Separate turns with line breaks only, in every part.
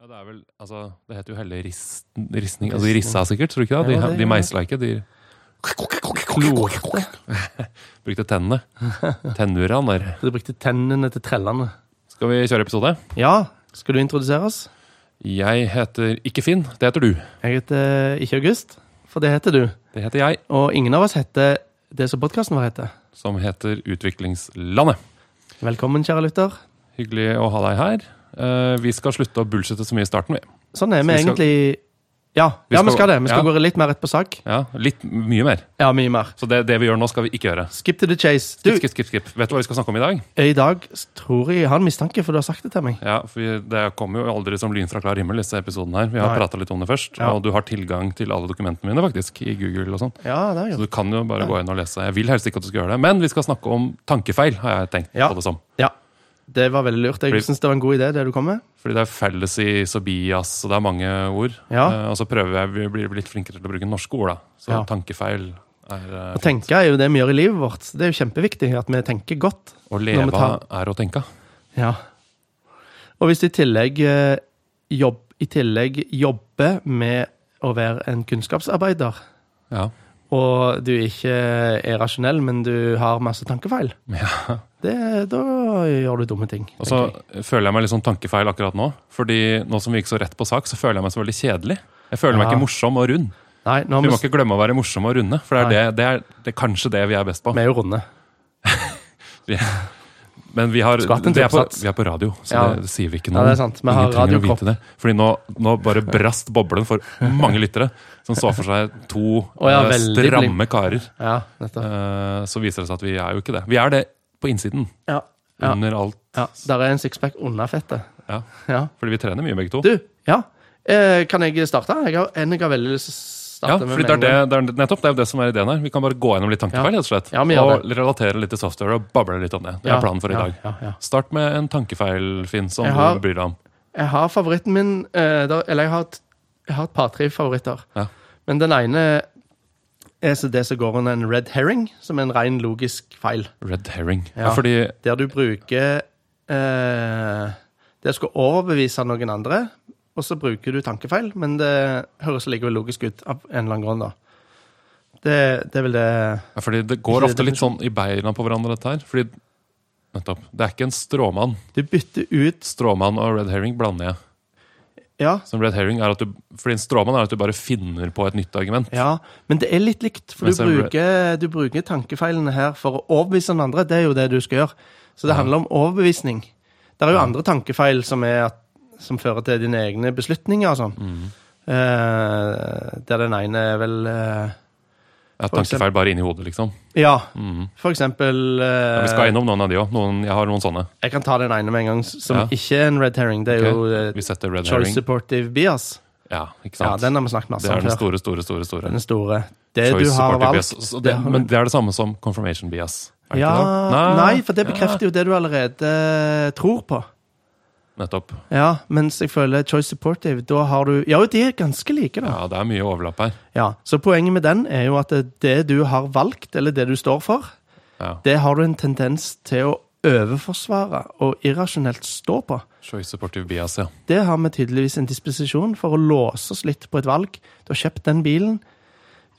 Ja, det er vel Altså, det heter jo heller rist, ristning. Altså, de rissa sikkert, tror du ikke det?
Ja,
De,
det-
de meisla ikke, de Klote. Brukte tennene. Tennuraner.
Du brukte tennene til trellene.
Skal vi kjøre episode?
Ja, skal du introduseres?
Jeg heter ikke Finn, det heter du.
Jeg heter eh, ikke August, for det heter du.
Det heter jeg,
Og ingen av oss heter det som podkasten vår heter.
som heter Utviklingslandet.
Velkommen, kjære lytter.
Hyggelig å ha deg her. Eh, vi skal slutte å bullshitte så mye i starten, vi.
Sånn er
Så
vi,
vi skal-
egentlig Ja, vi, ja, vi
skal-
skal det. Vi skal
ja.
gå litt mer rett på sak.
Ja, litt mye mer.
Ja, mye mer.
Så det, det vi gjør nå, skal vi ikke gjøre.
Skip to the chase. Du,
Skip, skip, skip, skip. Vet du hva vi skal snakke om i dag?
i dag tror jeg jeg har en mistanke, for du har sagt det til meg.
Ja, for vi- Det kommer jo aldri som lyn fra klar himmel, disse episodene her. Vi har
Nei.
prata litt om det først,
Ja.
og du har tilgang til alle dokumentene mine, faktisk, i Google og sånn.
Ja, det har jeg
Så
gjort.
du kan jo bare gå inn og lese. Jeg vil helst ikke at du skal gjøre det, men vi skal snakke om tankefeil, har jeg tenkt
Ja.
på det som.
Ja, det var veldig lurt. Jeg
Fordi-
syns det var en god idé, det du kom med.
Fordi det er fallacy, sobias, og det er mange ord.
Ja.
Eh, og så prøver jeg, vi blir litt flinkere til å bruke norske ord, da. Så
Ja.
tankefeil er eh,
Å tenke er jo det vi gjør i livet vårt. så Det er jo kjempeviktig at vi tenker godt.
Å
når
leve
vi tar-
er å tenke.
Ja. Og hvis du i tillegg, eh, jobb, i tillegg jobber med å være en kunnskapsarbeider,
Ja.
og du ikke er rasjonell, men du har masse tankefeil,
ja.
det, da gjør du dumme ting.
Og så
tenker jeg.
føler jeg meg litt sånn tankefeil akkurat nå. Fordi nå som vi gikk så rett på sak, så føler jeg meg så veldig kjedelig. Jeg føler meg
Ja.
ikke morsom og rund.
Nei, nå
Vi
har
må
vi,
ikke glemme å være morsomme og runde, for det er, det, det er, det er kanskje det vi er best på.
vi er jo runde.
Men vi, har,
Skulle hatt en
det er på,
toppsats.
vi er på radio, så
Ja.
det, det sier vi ikke
Ja,
noe.
det er sant. Vi
Ingen
har
trenger å
radiokropp.
vite det. Fordi nå, nå bare brast boblen for mange lyttere som så for seg to
Å ja,
eh,
veldig
stramme karer.
Ja, nettopp.
Eh, så viser det seg at vi er jo ikke det. Vi er det på innsiden.
Ja, Ja.
Under alt.
ja. Der er en sixpack under fettet.
Ja.
Ja.
Fordi vi trener mye, begge to.
Du, ja. Eh, kan jeg starte? Jeg har en jeg har veldig lyst til å
ja,
starte med.
fordi det
med
er,
en
det,
gang.
det er nettopp det er jo det som er ideen her. Vi kan bare gå gjennom litt tankefeil, rett og slett.
Ja, vi gjør
og relatere litt til software og bable litt om det. Det er
Ja,
planen for i
ja,
dag.
Ja, ja.
Start med en tankefeil, Finn, som
Jeg har-
du bryr deg om.
Jeg har favoritten min eh, der, Eller jeg har, et- jeg har et par-tre favoritter.
Ja.
Men den ene er så det som går under en red herring, som er en ren logisk feil.
Red herring.
Ja.
Ja, fordi
Der du bruker eh, Det skal overbevise noen andre, og så bruker du tankefeil, men det høres likevel logisk ut av en eller annen grunn, da. Det, det er vel det
Ja, fordi Det går
Ikke
ofte litt
definisjon.
sånn i beina på hverandre, dette her. Fordi, nettopp, Det er ikke en stråmann.
Du bytter ut
Stråmann og red herring blander jeg.
Ja,
Som red herring er at du, fordi En stråmann er at du bare finner på et nytt argument.
Ja, men det er litt likt, for
Mens
du
en red-
bruker, du bruker tankefeilene her for å overbevise den andre. Det er jo det du skal gjøre. Så det handler om overbevisning. Det er jo
Ja.
andre tankefeil som, er at, som fører til dine egne beslutninger og sånn.
Mm.
Eh, der den ene er vel eh,
Jeg
For eksempel-
tankefeil bare inni hodet, liksom.
Ja,
Mhm.
for eksempel eh,
Ja, vi skal innom noen av de òg. Jeg har noen sånne.
Jeg kan ta den ene med en gang, som
Ja.
ikke er en red herring. Det er
Ok,
jo eh,
Vi setter red
choice
herring.
supportive bias.
Ja, ikke
Ja,
sant?
Den har vi snakket masse
det er
om
den
før.
store, store, store. store.
Den store. Det
Choice
du har
supportive
valgt
bias. Så det,
det har-
men det er det samme som confirmation bias. Er det
Ja,
ikke det?
nei, for det bekrefter jo det du allerede eh, tror på.
Ja, nettopp.
Ja, mens jeg føler choice supportive, da har du Ja, jo, de er ganske like, da.
Ja, det er mye overlapp her.
Ja, Så poenget med den er jo at det du har valgt, eller det du står for,
Ja.
det har du en tendens til å overforsvare og irrasjonelt stå på.
Choice supportive bias, ja.
Det har vi tydeligvis en disposisjon for å låse oss litt på et valg. Du har kjøpt den bilen.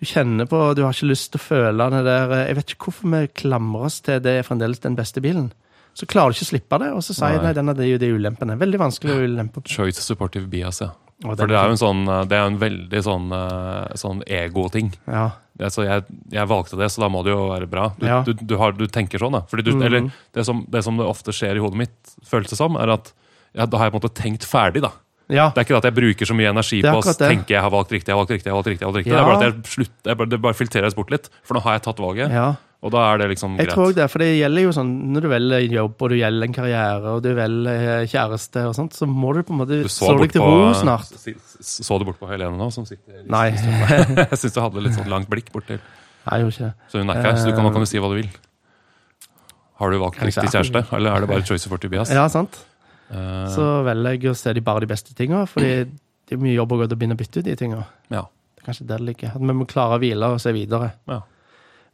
Du kjenner på Du har ikke lyst til å føle det der eh, Jeg vet ikke hvorfor vi klamrer oss til det er fremdeles den beste bilen. Så klarer du ikke å slippe det, og så sier
Nei.
du nei, den er det jo de ulempene. Veldig vanskelig å ulempe.
Choice supportive bias, ja.
Og
For
den-
det er jo en sånn eh, Det er jo en veldig sånn, eh, sånn ego-ting.
Ja.
Altså, jeg, jeg valgte det, så da må det jo være bra. Du,
Ja.
du, du, har, du tenker sånn, da. Fordi du,
Mhm.
Eller det som, det som det ofte skjer i hodet mitt, føles det som, er at ja, da har jeg på en måte tenkt ferdig, da.
ja.
Det er ikke det at jeg bruker så mye energi
Det er
på å
akkurat det.
tenke jeg har valgt riktig, jeg har valgt riktig, jeg har valgt riktig. Jeg har valgt riktig. Det er
Ja.
bare at jeg slutt, jeg bare, det bare filtreres bort litt, for nå har jeg tatt valget.
ja.
Og da er det liksom
Jeg
greit.
tror det, for det gjelder jo sånn når du velger jobb, og du gjelder en karriere, og du velger eh, kjæreste og sånt, så må du på en måte
Du så
slå
bort
deg til
på- eh,
ro snart.
s- s- Så du bort på Helene nå, som sitter
Nei, jeg
Jeg syns du hadde litt sånn langt blikk bort til
gjorde ikke det.
Så hun er ikke her, så du kan, nå kan du si hva du vil. Har du valgt
Kan jeg
riktig
si-
kjæreste, eller er det bare choice for Tobias?
Ja, sant?
Eh,
Så velger jeg å se de bare de beste tinga, fordi det er mye jobb å gå til å begynne å bytte ut de tinga.
Mm. ja.
Det er kanskje der det ligger. At vi må klare å hvile og se videre.
Ja.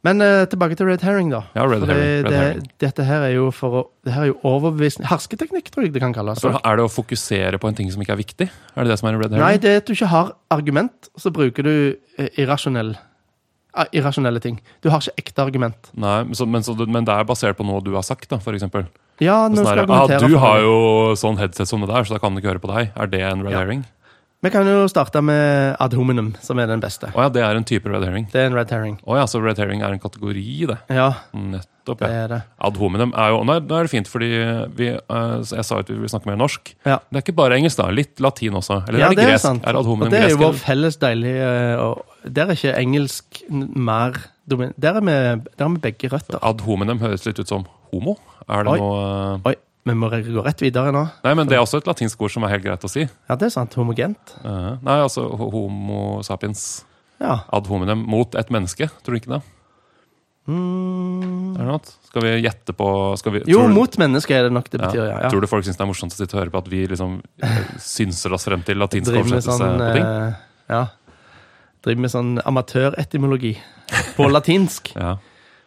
Men eh, tilbake til Red Herring, da.
Ja, Red
Fordi
Herring, Red
det,
Herring.
Dette her er jo for å, det her er jo overbevisning Hersketeknikk, tror jeg det kan kalles.
Så er det å fokusere på en ting som ikke er viktig? Er det det som er en red
Nei,
herring?
det er at du ikke har argument, så bruker du eh, irrasjonell, eh, irrasjonelle ting. Du har ikke ekte argument.
Nei, men så, men, så, men det er basert på noe du har sagt, da, for eksempel.
Ja,
Sånn
nå skal
der,
jeg
ah,
argumentere.
du
for
har
det.
jo sånn headset som det der, så da kan du ikke høre på deg. Er det en red
Ja.
herring?
Vi kan jo starte med ad hominem, som er den beste.
Å ja, det er en type red herring.
Det er en red herring.
Å ja, så red herring er en kategori, det.
Ja,
Nettopp.
det
Ja.
er det.
Ad hominem er jo Nei, da er det fint, fordi vi, eh, så jeg sa jo at vi ville snakke mer norsk.
Ja.
Det er ikke bare engelsk, da. Litt latin også. Eller
Ja,
er det,
det er
gresk?
sant.
Er ad hominem
Og det er
gresk?
jo vår
eller?
felles deilige eh, og Der er ikke engelsk n- mer domin... Der er vi, der er vi begge røtter.
Ad hominem høres litt ut som homo. Er det
Oi.
noe eh,
Oi, vi må re- gå rett videre nå.
Nei, men det er også et latinsk ord som er helt greit å si.
Ja, det er sant. Homogent.
Eh, nei, altså ho- homo sapiens
Ja.
ad hominem mot et menneske. Tror du ikke det?
Mm.
Er det noe? annet? Skal vi gjette på skal vi,
Jo,
tror du-
mot mennesker er det nok det betyr, ja. ja.
Tror du folk syns det er morsomt å sitte og høre på at vi liksom eh, synser oss frem til latinsk
Driver med
oversettelse
sånn,
på ting?
eh, ja. Driver med sånn amatøretymologi på latinsk.
Ja.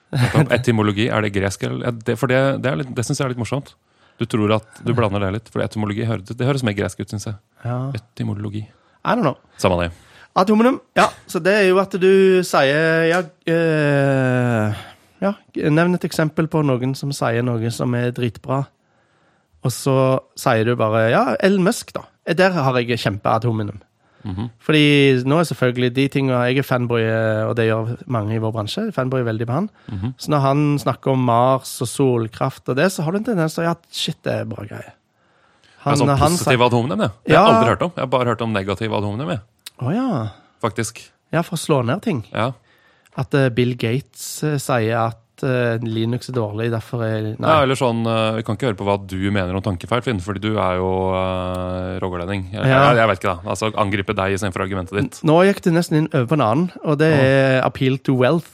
Nettopp. Etymologi, er det gresk? Eller? er Det, for det, det, er litt- det syns jeg er litt morsomt. Du tror at du blander det litt, for etymologi høres, det høres mer gresk ut, syns jeg.
Ja.
Etymologi.
I don't know.
Samme det.
Ad hominem. Ja, så det er jo at du sier ja, eh, ja, nevn et eksempel på noen som sier noe som er dritbra, og så sier du bare ja, El Musk, da. Eh, Der har jeg kjempe-ad hominem.
Mhm.
Fordi nå er selvfølgelig de tinga Jeg er fanboy, eh, og det gjør mange i vår bransje. Fanboy er veldig på han.
Mhm.
Så når han snakker om Mars og solkraft og det, så har du en tendens til å si at shit, det er bra greier.
Det er
Han- eh,
sånn
han
positiv ad hominem, det. Det har jeg
Ja.
aldri hørt om. Jeg har bare hørt om negativ ad hominem, jeg.
sier- Å ja.
Faktisk.
Ja, for å slå ned ting.
Ja.
At eh, Bill Gates eh, sier at eh, Linux er dårlig, derfor er Nei.
Ja, eller sånn, eh, Vi kan ikke høre på hva du mener om tankefeil, Finn, fordi du er jo uh, rogalending. Jeg,
Ja.
jeg, jeg vet ikke, da. Altså, Angripe deg istedenfor argumentet ditt.
Nå gikk du nesten inn over på en annen, og det er appeal to wealth.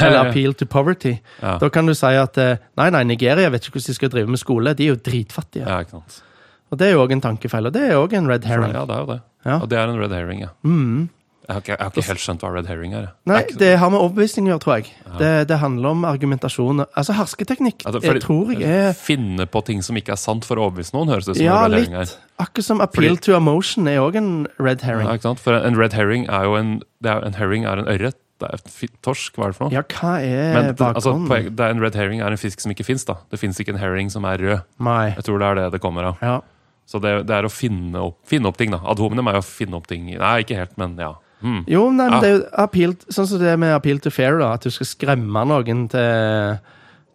Eller appeal to poverty.
Ja.
Da kan du si at eh, nei, nei, Nigeria vet ikke hvordan de skal drive med skole. De er jo dritfattige.
Ja, ikke sant.
Og det er jo òg en tankefeil, og det er òg en red
For,
herring.
ja, det er jo det.
Ja.
Og det er en red herring, ja.
Mm.
Jeg har, ikke, jeg har ikke helt skjønt hva red herring er. jeg.
Nei,
Det er ikke-
det har med overbevisning å gjøre, tror jeg. Det, det handler om argumentasjon. Altså hersketeknikk
Altså, fordi-
jeg tror jeg er
Finne på ting som ikke er sant for å overbevise noen, høres det ut som
Ja,
en red herring
litt.
er.
Akkurat som appeal
Fordi-
to emotion er òg en red herring.
Ja, ikke sant? For en red herring er jo en, det er, en herring er en ørret. Det er et fi- torsk, hva er det for noe?
Ja, hva
Men
er
det, altså,
bakgrunnen?
poeng- det er en red herring er en fisk som ikke fins. Det fins ikke en herring som er rød.
Nei.
Jeg tror det er det det kommer av.
Ja.
Så det, det er å finne opp, finne opp ting, da. Ad hominem er jo å finne opp ting. Nei, ikke helt, men ja. Hmm.
Jo, nei, men
Ja.
det er jo appeal, sånn som det med appeal to fair, da, at du skal skremme noen til,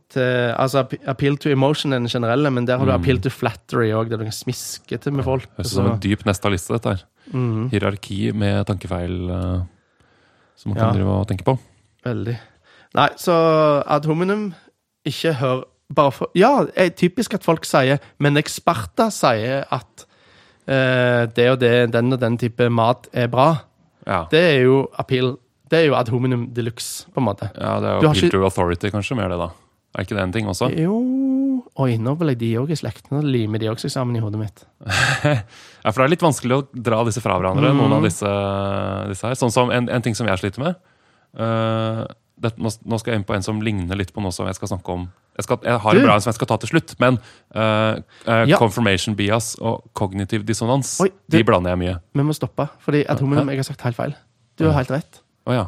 til Altså app- appeal to emotion er den generelle, men der har du appeal to flattery òg, der du kan smiske til med folk. sånn.
Høres ut
så-
som en dyp neste av liste, dette her.
Mhm,
Hierarki med tankefeil eh, som man
Ja.
kan drive og tenke på.
veldig. Nei, så ad hominem, ikke hør bare for Ja, det er typisk at folk sier Men eksperter sier at eh, det og det, den og den type mat er bra.
Ja.
Det er jo appeal Det er jo ad hominem de luxe, på en måte.
ja, det er
Du
jo
har
appeal
ikke-
to authority, kanskje, mer det, da. Er ikke det en ting også?
Jo Oi, nå ble de òg i slekt. Nå limer de også sammen i hodet mitt.
Ja, For det er litt vanskelig å dra disse fra hverandre,
Mhm.
noen av disse, disse her. Sånn som en, en ting som jeg sliter med eh, det, nå, nå skal jeg inn på en som ligner litt på noe som jeg skal snakke om. Jeg, skal, jeg har
Du.
en bra en som jeg skal ta til slutt, men eh, eh,
Mm. Ja.
confirmation bias og kognitiv dissonans,
Oi,
de
det-
blander jeg mye.
Vi må stoppe, fordi at hominem jeg har sagt helt feil. Du har helt rett.
Å ja.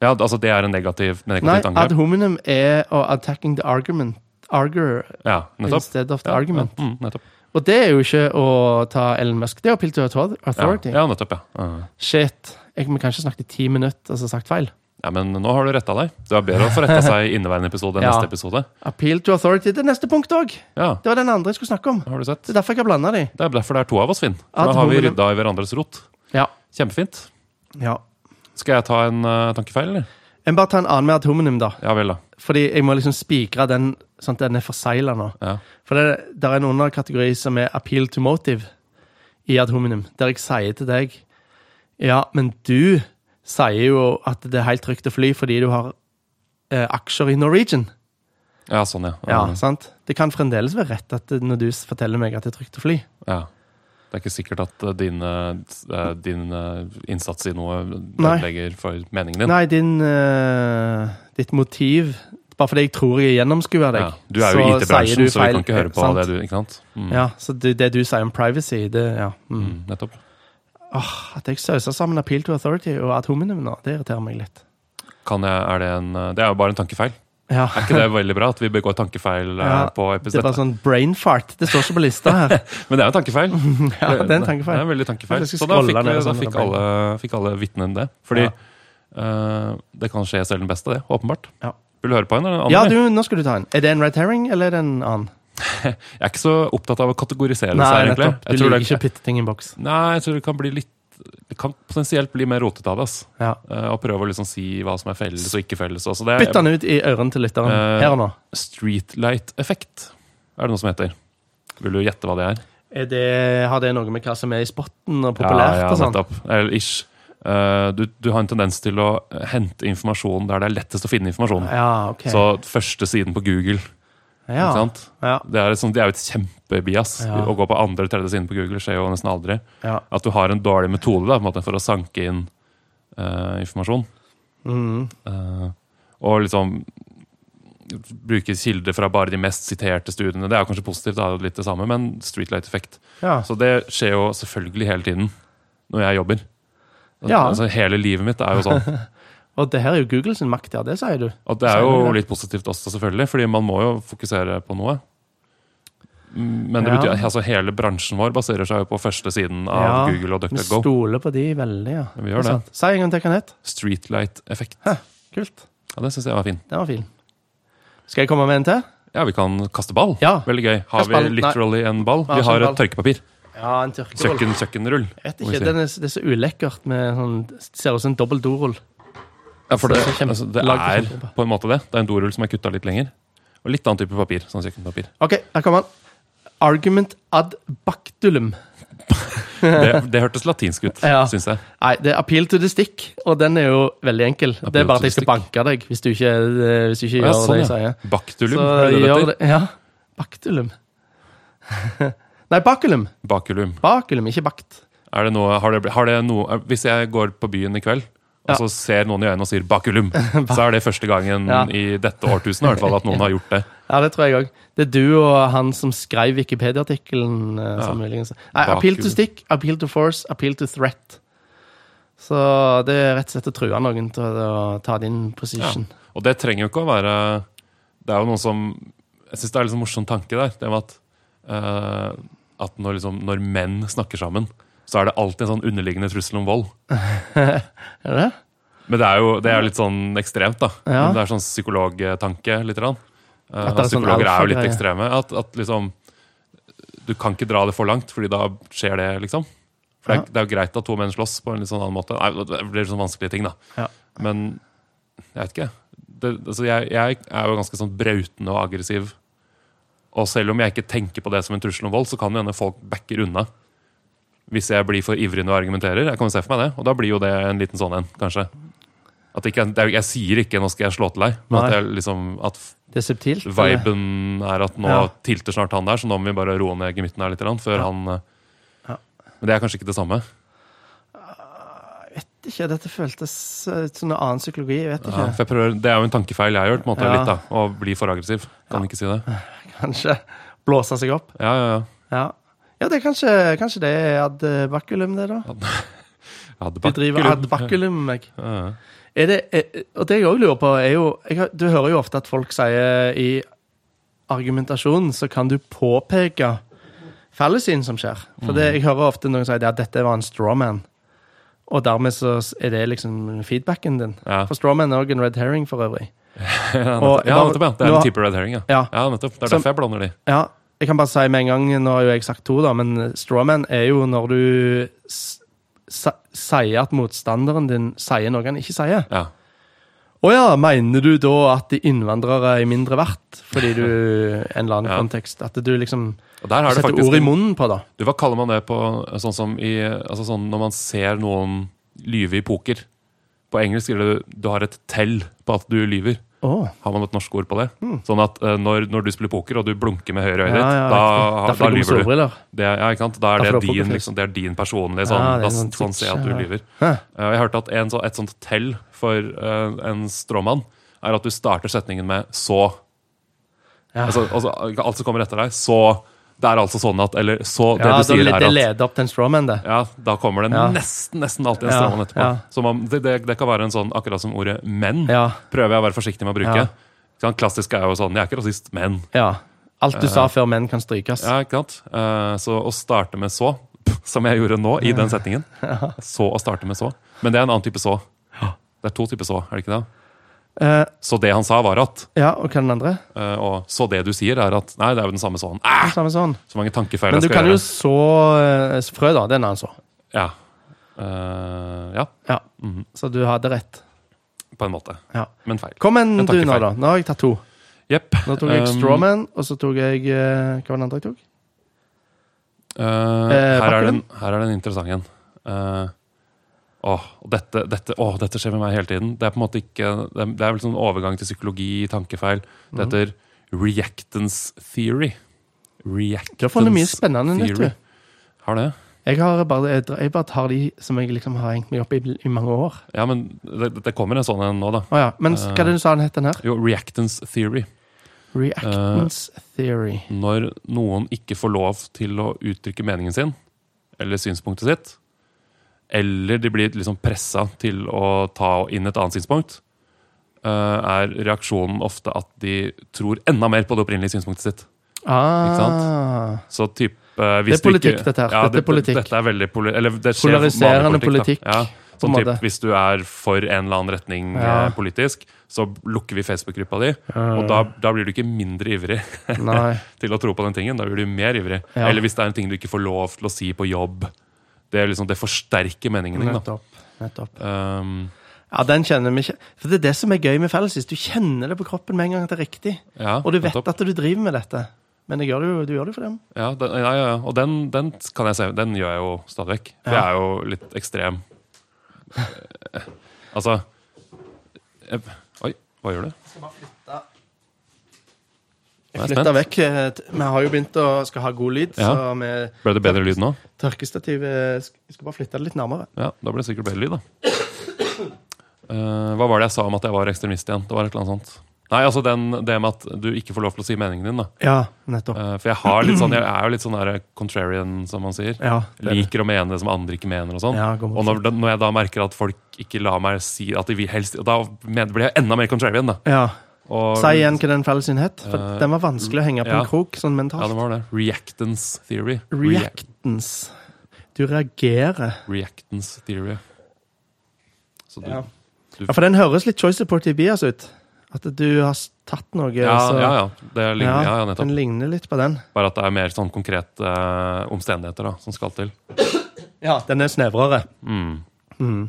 Ja, altså det er en negativ,
Nei,
negativt
ad
angrep?
hominem er å attacking the argument. Arger
Ja, nettopp.
instead of the
Ja,
argument.
Ja, mm, nettopp.
Og det er jo ikke å ta Ellen Musk. Det er å pilte
Ja,
authority.
ja, nettopp, ja. Ja.
Shit. Jeg må kanskje snakke i ti minutter og så sagt feil.
ja. Men nå har du retta deg. Det er bedre å få retta seg i inneværende episode enn
Ja.
neste episode.
Appeal to authority. Det er neste punkt òg.
Ja,
Det var den andre jeg skulle snakke om.
har du sett.
Det er derfor jeg har blanda de.
Det er derfor det er to av oss, Finn. For
Ad
da har vi
hominem.
rydda i hverandres rot.
Ja.
Kjempefint.
ja.
Skal jeg ta en eh, tankefeil, eller?
En bare ta en annen med ad hominem, da.
Ja vel, da.
Fordi jeg må liksom spikre den sånn at den er forsegla nå.
Ja.
For det der er en underkategori som er appeal to motive i ad hominem, der jeg sier til deg Ja, men du sier jo at det er helt trygt å fly fordi du har eh, aksjer i Norwegian.
ja, sånn, ja.
eh, Ja, sant? Det kan fremdeles være rett at det- når du s- forteller meg at det er trygt å fly.
ja. Det er ikke sikkert at eh, din, eh, din eh, innsats i noe
Nei.
ødelegger for meningen din.
Nei, din, eh, ditt motiv Bare fordi jeg tror jeg gjennomskuer deg.
Ja. Du er jo i
så sier
IT-bransjen,
du
så vi
feil,
kan ikke høre på
sant?
det du Ikke sant? Mm.
Ja, så det, det du sier om privacy, det ja. Mm.
Mm, nettopp.
At jeg sauser sammen appeal to authority og ad hominem nå, det irriterer meg litt.
Kan jeg, er det, en, eh, det er jo bare en tankefeil.
Ja.
Er ikke det veldig bra at vi begår tankefeil eh,
Ja,
på
Det er sånn-
episode?
bare sånn brain fart. Det står ikke på lista her.
Men det er jo en tankefeil.
Ja, det er en
Det
tankefeil.
er en veldig tankefeil.
Jeg skal
Så da fikk,
scrolle
vi,
ned
da
sånn
fikk
med
alle, fikk alle vitnene det. Fordi eh, det kan skje selv den beste, det. Åpenbart.
Ja.
Vil du høre på en eller annen?
Ja, du, nå skal du ta en. Er det en red herring, eller er det en annen?
Jeg er ikke så opptatt av å kategorisere
Nei,
disse her, egentlig.
nettopp. Du
Jeg tror
liker
det,
ikke å putte ting i en boks.
nei, jeg tror det kan bli litt Det kan potensielt bli mer rotete av det. ass.
Ja.
Eh, og prøve å liksom si hva som er felles og ikke felles. og så det
Bytt
er
den ut i ørene til lytteren.
Eh,
Her og nå.
Streetlight-effekt, er det noe som heter. Vil du gjette hva det er?
Er det, har det noe med hva som er i spotten og populært
ja, ja,
og sånn?
nettopp. Eller ish. Eh, du, du har en tendens til å hente informasjon der det er lettest å finne informasjon.
Ja, ok.
Så første siden på Google.
ja.
Ikke sant?
Ja,
Det er, et sånt, det er jo et kjempebias.
Ja.
Å gå på andre eller tredje siden på Google skjer jo nesten aldri.
ja.
At du har en dårlig metode da, på en måte, for å sanke inn eh, informasjon.
Mm.
Eh, og liksom bruke kilder fra bare de mest siterte studiene. Det er jo kanskje positivt, det er jo litt det samme, men streetlight-effekt.
ja.
Så det skjer jo selvfølgelig hele tiden når jeg jobber.
Ja.
Altså, hele livet mitt er jo sånn.
Og det her er jo Google sin makt, ja. Det sier du.
Og det er
Sier du
jo
det?
litt positivt også, selvfølgelig, fordi man må jo fokusere på noe. Mm, Men det
Ja.
betyr, altså, hele bransjen vår baserer seg jo på første siden av
Ja,
Google og
Vi
DuckDuckGo.
stoler på de veldig, ja.
Vi gjør
er sant. Si en gang til hva den het.
Streetlight-effekt.
Kult.
Ja, det syns jeg var fin.
Den var fin. Skal jeg komme med en til?
Ja, vi kan kaste ball.
Ja.
Veldig gøy. Har
Kast
vi
ballen. Nei.
literally en ball?
Ja,
Vi
en
har
ball.
et tørkepapir.
Ja, en tørkerull.
Søkken, søkkenrull.
Jeg vet
må vi
ikke,
si.
den er, det er så ulekkert med sånn Ser ut som en dobbel dorull.
Ja, for det,
Så kjempe-
altså, det
lag til
er
kjempe-
på en måte det. Det er en dorull som er kutta litt lenger. Og litt annen type papir. sånn kjøkkenpapir.
OK, her kommer den. Argument ad bactulum.
Det, det hørtes latinsk ut,
Ja.
synes syns jeg.
Nei, det er appeal to the stick, og den er jo veldig enkel. det er bare
to
at jeg
the
skal banke deg hvis du ikke, eh, hvis du ikke
Ja,
gjør
sånn,
det jeg
ja.
sier.
Baktulum.
Så
er det det
gjør
heter?
det. Ja. Baktulum. Nei, bakulum.
Bakulum.
Bakulum, ikke bakt.
Er det noe, har det, bl- har det noe, er- hvis jeg går på byen i kveld, og
Ja.
så ser noen i øynene og sier 'bakulum', så er det første gangen
Ja.
i dette årtusenet i hvert fall, at noen har gjort det.
Ja, det tror jeg òg. Det er du og han som skrev Wikipedia-artikkelen. eh, som muligens- Nei, appeal to
Bakulum.
stick, appeal to force, appeal to threat. Så det er rett og slett å true noen til å ta din position.
Og det trenger jo ikke å være Det er jo noe som Jeg syns det er en liksom morsom tanke der. Det med at, eh, at når, liksom, når menn snakker sammen, så er det alltid en sånn underliggende trussel om vold.
Er det det?
Men det er jo det er jo litt sånn ekstremt, da.
Ja.
Men Det er sånn psykologtanke, lite grann. Eh,
At det er
at
sånn
psykologer er jo litt
alfa-greie.
ekstreme. At, at liksom Du kan ikke dra det for langt, fordi da skjer det, liksom. For det er, det er jo greit at to menn slåss på en litt sånn annen måte. Nei, det blir sånn vanskelige ting, da.
Ja.
Men jeg vet ikke. Det, altså jeg, jeg er jo ganske sånn brautende og aggressiv. Og selv om jeg ikke tenker på det som en trussel om vold, så kan det hende folk backer unna. Hvis jeg blir for ivrig når jeg argumenterer. Jeg kan jo se for meg det, Og da blir jo det en liten sånn en, kanskje. At det ikke, er- det er, jo- jeg sier ikke 'nå skal jeg slå til deg', men at,
Nei.
jeg, liksom, at f-
Det er subtilt. eller?
viben er at nå
Ja.
tilter snart han der, så nå må vi bare roe ned gemytten her litt grann, før han eh,
Ja.
Men det er kanskje ikke det samme.
Ikke, dette føltes eh, ut som noe annen psykologi. Jeg vet ikke.
Ja, for jeg prøver, det er jo en tankefeil jeg har gjort, på en måte,
Ja.
litt, da, å bli for aggressiv. Kan ikke si det.
Kanskje blåse seg opp.
Ja, ja, ja.
Ja, ja det er kanskje, kanskje det er ad bakulum, det, da.
Jeg hadde
De driver
bakkelum.
ad bakulum med meg.
Ja, ja.
Er det, er, og det jeg òg lurer på, er jo jeg, har- Du hører jo ofte at folk sier i argumentasjonen så kan du påpeke fallusien som skjer. For det, jeg hører ofte noen si at dette var en strawman. Og dermed så er det liksom feedbacken din.
Ja.
For strawman er òg en red herring, for øvrig.
Ja,
Og-
nettopp. ja, nettopp, ja. Det er
Nå-
en type red herring, ja.
Ja.
ja nettopp. Det er
Som-
derfor jeg blander de.
Ja, jeg kan bare si med en gang, nå har jo jeg sagt to, da, men strawman er jo når du s sa- sier at motstanderen din sier noe han ikke sier.
Ja.
Å ja, mener du da at de innvandrere er mindre verdt? Fordi du En eller annen
Ja.
kontekst. At du liksom
Og der har det
setter
faktisk
ord i munnen på det.
Du, Hva kaller man det på sånn som i Altså sånn når man ser noen lyve i poker? På engelsk er det du har et tell på at du lyver.
Åh.
Har man et norsk ord på det? Sånn at eh, når, når du spiller poker og du blunker med høyre øye ditt,
Hmm. Ja, ja,
da,
riktig.
da,
Derfor går med
lyver du.
solbriller.
Det, er- ja, ikke sant? Da er
Derfor
det,
er det
din,
pokerface.
liksom, det er din personlige sånn,
Ja, det er
da,
sånn
sånn ser jeg at du
twitch,
lyver.
Hæ?
Eh, og Jeg hørte at en, så, et sånt tell for eh, en stråmann er at du starter setningen med 'så'.
Ja.
Altså, altså, alt som kommer etter deg, så Det er altså sånn at Eller så Det
ja,
du sier,
det,
er
det
at
leder opp til en strawman, det.
ja, da kommer det
Ja.
nesten nesten alltid en
Ja,
stråmann etterpå.
ja.
Så man, det, det, det kan være en sånn, akkurat som ordet 'men'.
Ja.
Prøver jeg å være forsiktig med å bruke.
Ja.
Ikke sant? Klassisk er jo sånn 'jeg er ikke rasist, men'.
ja. Alt du sa før menn kan strykes.
Ja, ikke sant? Eh, så å starte med 'så', som jeg gjorde nå i den setningen Så å starte med 'så'. Men det er en annen type 'så'. Det er to typer 'så', er det ikke det?
Eh,
Så det han sa, var at
ja, og hva er den andre?
eh, Og så det du sier, er at Nei, det er jo den samme sånn. Ah,
Samme sånn.
så mange tankefeil
Men
jeg
du
skal
kan
gjøre.
jo så eh, frø, da. Det er en annen så.
Ja. Eh, ja,
Ja. Så du hadde rett.
på en måte.
Ja.
Men feil.
Kom en
Jeg tar
du
ikke
nå,
feil.
da. Nå har jeg tatt to.
Jepp.
Nå tok jeg
Um,
strawman, og så tok jeg eh, Hva var den andre jeg tok?
eh, her, er den,
Bakkeland?
her er den interessante en. Eh, åh, og dette, dette, åh, dette skjer med meg hele tiden. Det er på en måte ikke Det er, det er vel sånn overgang til psykologi, tankefeil. Det
Mhm.
heter reactance theory. Reactance
Du har funnet mye spennende nytt, du.
Har det?
Jeg, har bare, jeg dra- jeg bare tar de som jeg liksom har hengt meg opp i i mange år.
Ja, men det, det kommer en sånn en nå, da.
Å ja. Men hva er det du sa den het, den her?
Jo, reactance theory.
Reactance theory.
Eh, når noen ikke får lov til å uttrykke meningen sin eller synspunktet sitt, eller de blir liksom pressa til å ta inn et annet synspunkt, eh, er reaksjonen ofte at de tror enda mer på det opprinnelige synspunktet sitt.
Ah,
Så typ, eh,
Det
hvis
er politikk,
du ikke,
dette her.
Ja,
Dette er politikk.
Dette er veldig poli eller det skjer
Polariserende
vanlig
politikk,
da. Ja,
på en
sånn typ,
måte.
hvis du er for en eller annen retning
Ja.
eh, politisk, så lukker vi Facebook-gruppa di, og da, da blir du ikke mindre ivrig.
Eh, Nei.
til å tro på den tingen. Da blir du mer ivrig.
Ja.
Eller hvis det er en ting du ikke får lov til å si på jobb. Det, er liksom, det forsterker meningen din. Da.
Nettopp. Nettopp.
Um,
Ja, den kjenner vi ikke. For det er det som er gøy med fellesvis. Du kjenner det på kroppen med en gang at det er riktig.
ja,
Og du vet
nettopp.
at du driver med dette. Men det gjør du, jo- du gjør det jo for dem.
Ja, den, ja, ja, ja. Og den, den kan jeg se. Den gjør jeg jo stadig vekk. For
Ja.
jeg er jo litt ekstrem. Eh, Altså jeg, Oi, hva gjør du? Nå er
Jeg
jeg
flytter
spent.
vekk. eh, t- Vi har jo begynt å skal ha god lyd,
Ja.
så vi
Ble det bedre lyd nå?
tørkestativet sk- Jeg skal bare flytte det litt nærmere.
Ja, da ble det sikkert bedre lyd, da. Eh, hva var det jeg sa om at jeg var ekstremist igjen? Det var et eller annet sånt. Nei, altså den, det med at du ikke får lov til å si meningen din, da.
Ja, nettopp.
Eh, For jeg, har litt sånn, jeg er jo litt sånn der contrarian, som man sier.
Ja, det er det.
Liker å mene det som andre ikke mener. Og sånn
Ja, god
Og når, når jeg da merker at folk ikke lar meg si at de vil helst Da men- blir jeg enda mer contrarian, da.
Ja.
Og,
Si igjen hva den fellesen het. For
Eh,
den var vanskelig å henge på
ja.
en krok sånn
Ja, det
mentalt.
var det. Reactance theory. Reac-
Reactance. Du reagerer.
reactance theory. Så du,
Ja.
ja.
Ja, For den høres litt Choice Supportive Bias ut. At du har s- tatt noe.
Ja,
altså.
ja, Det ligner, ja, ja, nettopp.
Den ligner litt på den.
Bare at det er mer sånn konkrete eh, omstendigheter da, som skal til.
Ja, Den er snevrere.
Mm.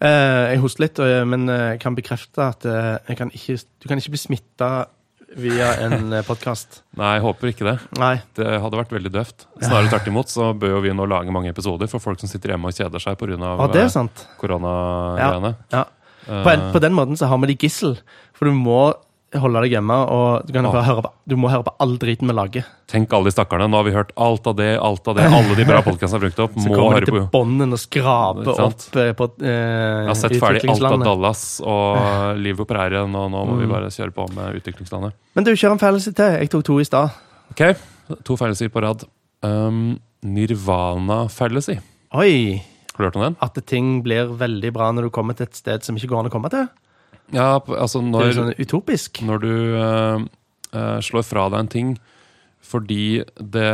Eh, jeg hoster litt, og, men eh, jeg kan bekrefte at eh, jeg kan ikke, du kan ikke bli smitta via en podkast.
Nei, jeg håper ikke det.
Nei.
Det eh, hadde vært veldig døvt. Snarere tvert imot så bør jo vi nå lage mange episoder for folk som sitter hjemme og kjeder seg
Ja, det er
pga.
sant.
eh, koronagreiene.
Ja.
Eh,
På, en, på den måten så har vi de gissel, for du må holde deg hjemme. Og du, kan bare høre på, du må høre på all driten vi lager.
Tenk alle de stakkarene. Nå har vi hørt alt av det, alt av det. Alle de bra podkastene har brukt opp.
Så
Må
kommer
høre
de
på.
til bånden og skraper
Ikke sant?
opp eh, på
Jeg
eh,
har sett ferdig alt av
utviklingslandet. Mm.
Dallas og liv på prærien, og nå må vi bare kjøre på med utviklingslandet.
Men du, kjør en felles til. Jeg tok to i stad.
Ok, to feilsider på rad. Um, Nirvana fallacy.
Oi!
Har du hørt om den?
At ting blir veldig bra når du kommer til et sted som ikke går an å komme til.
Ja, p- altså
Det er
når
jo sånn utopisk.
når du eh, eh, slår fra deg en ting fordi det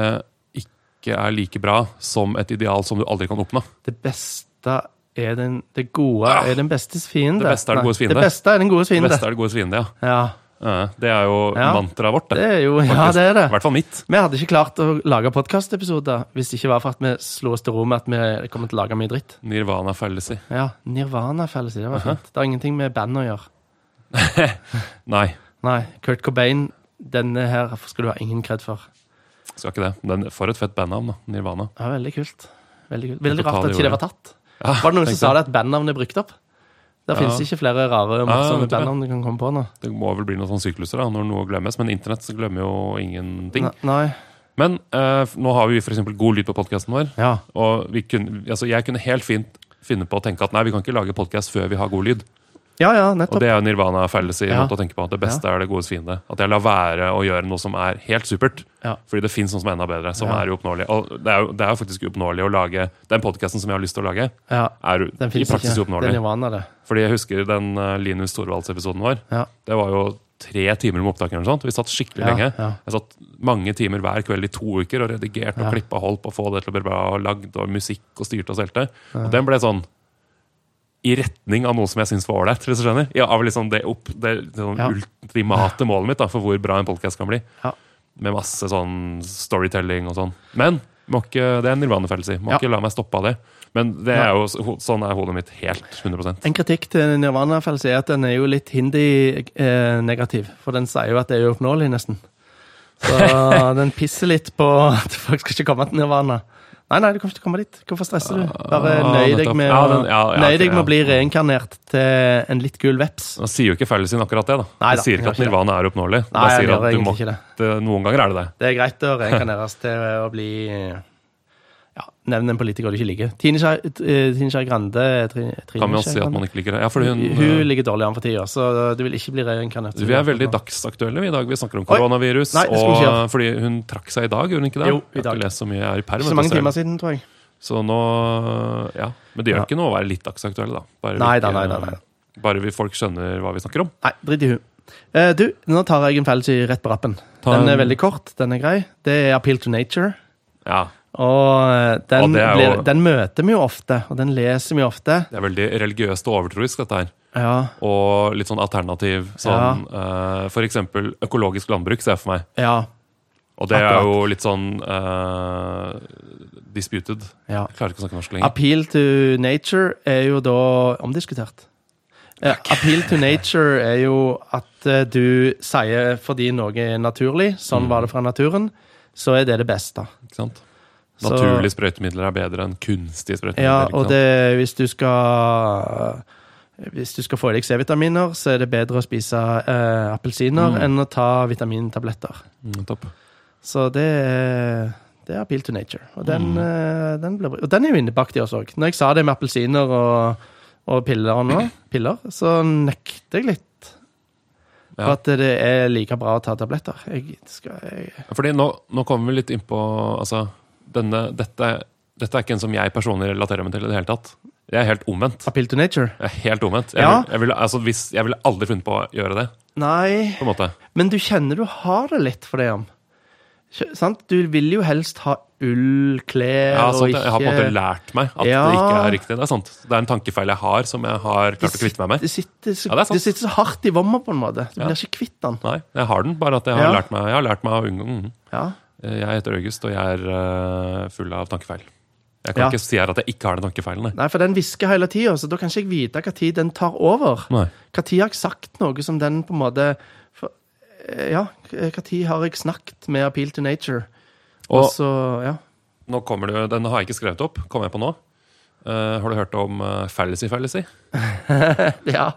ikke er like bra som et ideal som du aldri kan oppnå.
Det beste er den Det gode er den bestes fiende.
Ah! Det beste er den
Nei,
godes fiende.
Det beste er den godes
Det
fiende.
beste er det godes fiende, ja.
Ja,
Eh, det er jo
Ja.
mantraet vårt.
det er jo Ja, det er det.
I hvert fall mitt.
Vi hadde ikke klart å lage podkastepisoder hvis det ikke var for at vi slo oss til ro med at vi kommer til å lage mye dritt.
Nirvana fallacy.
Ja, Nirvana-fellesi, det var fint. Det har ingenting med bandet å gjøre.
Nei,
Nei, Kurt Cobain, denne her skal du ha ingen kred for.
skal ikke det. Den, for et fett bandnavn, da. Nirvana.
Ja, veldig kult. Veldig kult. Veldig
Totale
rart at ikke det
jorda.
var tatt.
Ja,
Var det noen
tenk
som sa det at bandnavnet er brukt opp? Der
Ja.
finnes ikke flere rare og morsomme
vet du hva?
bandnavn du kan komme på nå.
Det må vel bli noen sånne sykluser da, når noe glemmes, men internett så glemmer jo ingenting.
Ne- Nei.
Men eh, nå har vi f.eks. god lyd på podkasten vår,
Ja.
og vi kunne, altså, jeg kunne helt fint finne på å tenke at nei, vi kan ikke lage podkast før vi har god lyd.
ja, ja,
Og
nettopp.
det er jo Nirvana fallacy.
Ja.
måte å tenke på at Det beste er det godes fiende. At jeg lar være å gjøre noe som er helt supert.
Ja.
Fordi det fins noe som er enda bedre. som
Ja.
er uoppnåelig. Og det er jo, det er jo faktisk uoppnåelig å lage Den podkasten som jeg har lyst til å lage,
Ja,
er jo
den
i
finnes ikke.
praksis
Det er
uoppnåelig.
Nirvana, det.
Fordi jeg husker den eh, Linus Torvalds-episoden vår.
Ja.
Det var jo tre timer med opptak. eller noe sånt. Vi satt skikkelig
Ja,
lenge.
ja.
Jeg satt mange timer hver kveld i to uker og redigerte og
Ja.
klippa holdt på å få det til å bli bra, og lagd og musikk og styrte og stelte. Og den ble sånn i retning av noe som jeg syns var ålreit. hvis du skjønner. Ja, av liksom det, opp, det sånn
Ja.
ultimate målet mitt da, for hvor bra en podkast kan bli.
Ja.
Med masse sånn storytelling og sånn. Men må ikke, det er en nirvanefellelse. Må
Ja.
ikke la meg stoppe av det. Men det er jo, ho- sånn er hodet mitt helt. 100
En kritikk til Nirvana-fellelse er at den er jo litt hindi-negativ. For den sier jo at det er uoppnåelig, nesten. Så den pisser litt på at folk skal ikke komme til Nirvana. Nei, nei, du kommer ikke til å komme dit. Hvorfor stresser du? Bare
Ah,
nøy deg
nettopp.
med,
Ja,
å-
den- ja, ja,
nøy
ok,
deg med
ja.
å bli reinkarnert til en litt gul veps.
Han sier jo ikke fellesen akkurat det. da.
Nei da,
Han sier ikke
han gjør
at
ikke det.
nirvana er oppnåelig.
Nei,
Han
han
sier
gjør
at du
egentlig
må,
ikke det.
det- Noen ganger er det det.
Det er greit å reinkarneres til å bli ja, Nevn en politiker du ikke liker. Tine Skei eh, Tine Skei Grande Tri- Trine
Kan man
Skei
si at
Grande?
man ikke liker det? Ja, fordi hun, eh,
Hun ligger dårlig an for tida, så du vil ikke bli reinkarnert.
vi er veldig dagsaktuelle vi i dag. Vi snakker om
Oi.
koronavirus.
Nei, det skulle
og
ikke jeg.
Fordi hun trakk seg i dag, gjorde hun ikke det?
Jo, i
Jeg har
dag.
ikke lest så mye. Jeg er i perm.
Ikke så
vet du,
mange
så jeg-
timer siden, tror jeg.
Så nå, ja. Men det gjør
Ja.
ikke noe å være litt dagsaktuelle, da. Bare
Nei
vi
da,
ikke-
nei da, nei da.
Bare vi folk skjønner hva vi snakker om.
Nei, drit i hun. Eh, du, nå tar jeg en fellelse rett på rappen.
Ta
den er
en-
veldig kort, den er grei. Det er Appeal to Nature.
Ja,
Og eh,
Ja,
den,
det er jo-
blir, den møter vi jo ofte, og den leser vi ofte.
Det er veldig religiøst og overtroisk, dette her.
Ja,
Og litt sånn alternativ. Sånn, eh, for eksempel økologisk landbruk, ser jeg for meg.
ja,
Og det
Akkurat.
er jo litt sånn eh, disputed.
ja.
Jeg klarer ikke å snakke norsk lenger.
Appeal to nature er jo da omdiskutert. Eh, appeal to nature er jo at eh, du sier fordi noe er naturlig, sånn var det fra naturen, så er det det beste.
Ikke sant?
Så-
Naturlige sprøytemidler er bedre enn kunstige
Ja,
sprøytemidler.
og det, hvis du skal Hvis du skal få i deg C-vitaminer, så er det bedre å spise eh, appelsiner
Mm.
enn å ta vitamintabletter.
ikke sant? Mm, topp.
Så det er, det er appeal to nature. Og den,
Mm.
eh, den, ble, og den er jo innebakt i oss òg. Når jeg sa det med appelsiner og, og piller nå, piller, så nekter jeg litt. For
Ja.
at det er like bra å ta tabletter. Jeg skal, jeg,
Fordi nå, nå kommer vi litt innpå altså, denne, dette, dette er ikke en som jeg personlig relaterer meg til i det hele tatt. Jeg er helt omvendt.
appeal to nature?
Jeg er helt omvendt. Jeg,
Ja.
vil, jeg, ville- altså, hvis, jeg ville aldri funnet på å gjøre det.
Nei,
på en måte.
men du kjenner du har det litt for det, Jan. Kjø- Sant? Du vil jo helst ha ull, klær
Ja, sant,
Eh, og ikke
jeg har på en måte lært meg at
Ja.
det ikke er riktig. Det er sant. Det er en tankefeil jeg har, som jeg har klart å kvitte meg med.
Det sitter, så,
Ja, det er sant.
det sitter så hardt i vomma, på en måte. Du
Ja.
blir ikke kvitt den.
Nei, jeg har den, bare at jeg har
Ja.
lært meg, jeg har lært meg å unngå den.
Ja.
Eh, Jeg heter August, og jeg er eh, full av tankefeil. Jeg kan
Ja.
ikke si her at jeg ikke har den tankefeilen. nei.
Nei, for den hvisker hele tida, så da kan ikke jeg vite hva tid den tar over.
Nei.
Hva tid har jeg sagt noe som den på en måte for, eh, Ja, hva tid har jeg snakket med Appeal to Nature? Og
Og
så, ja.
nå kommer det, den har jeg ikke skrevet opp, kommer jeg på nå. Eh, har du hørt om eh, fallacy fallacy?
ja.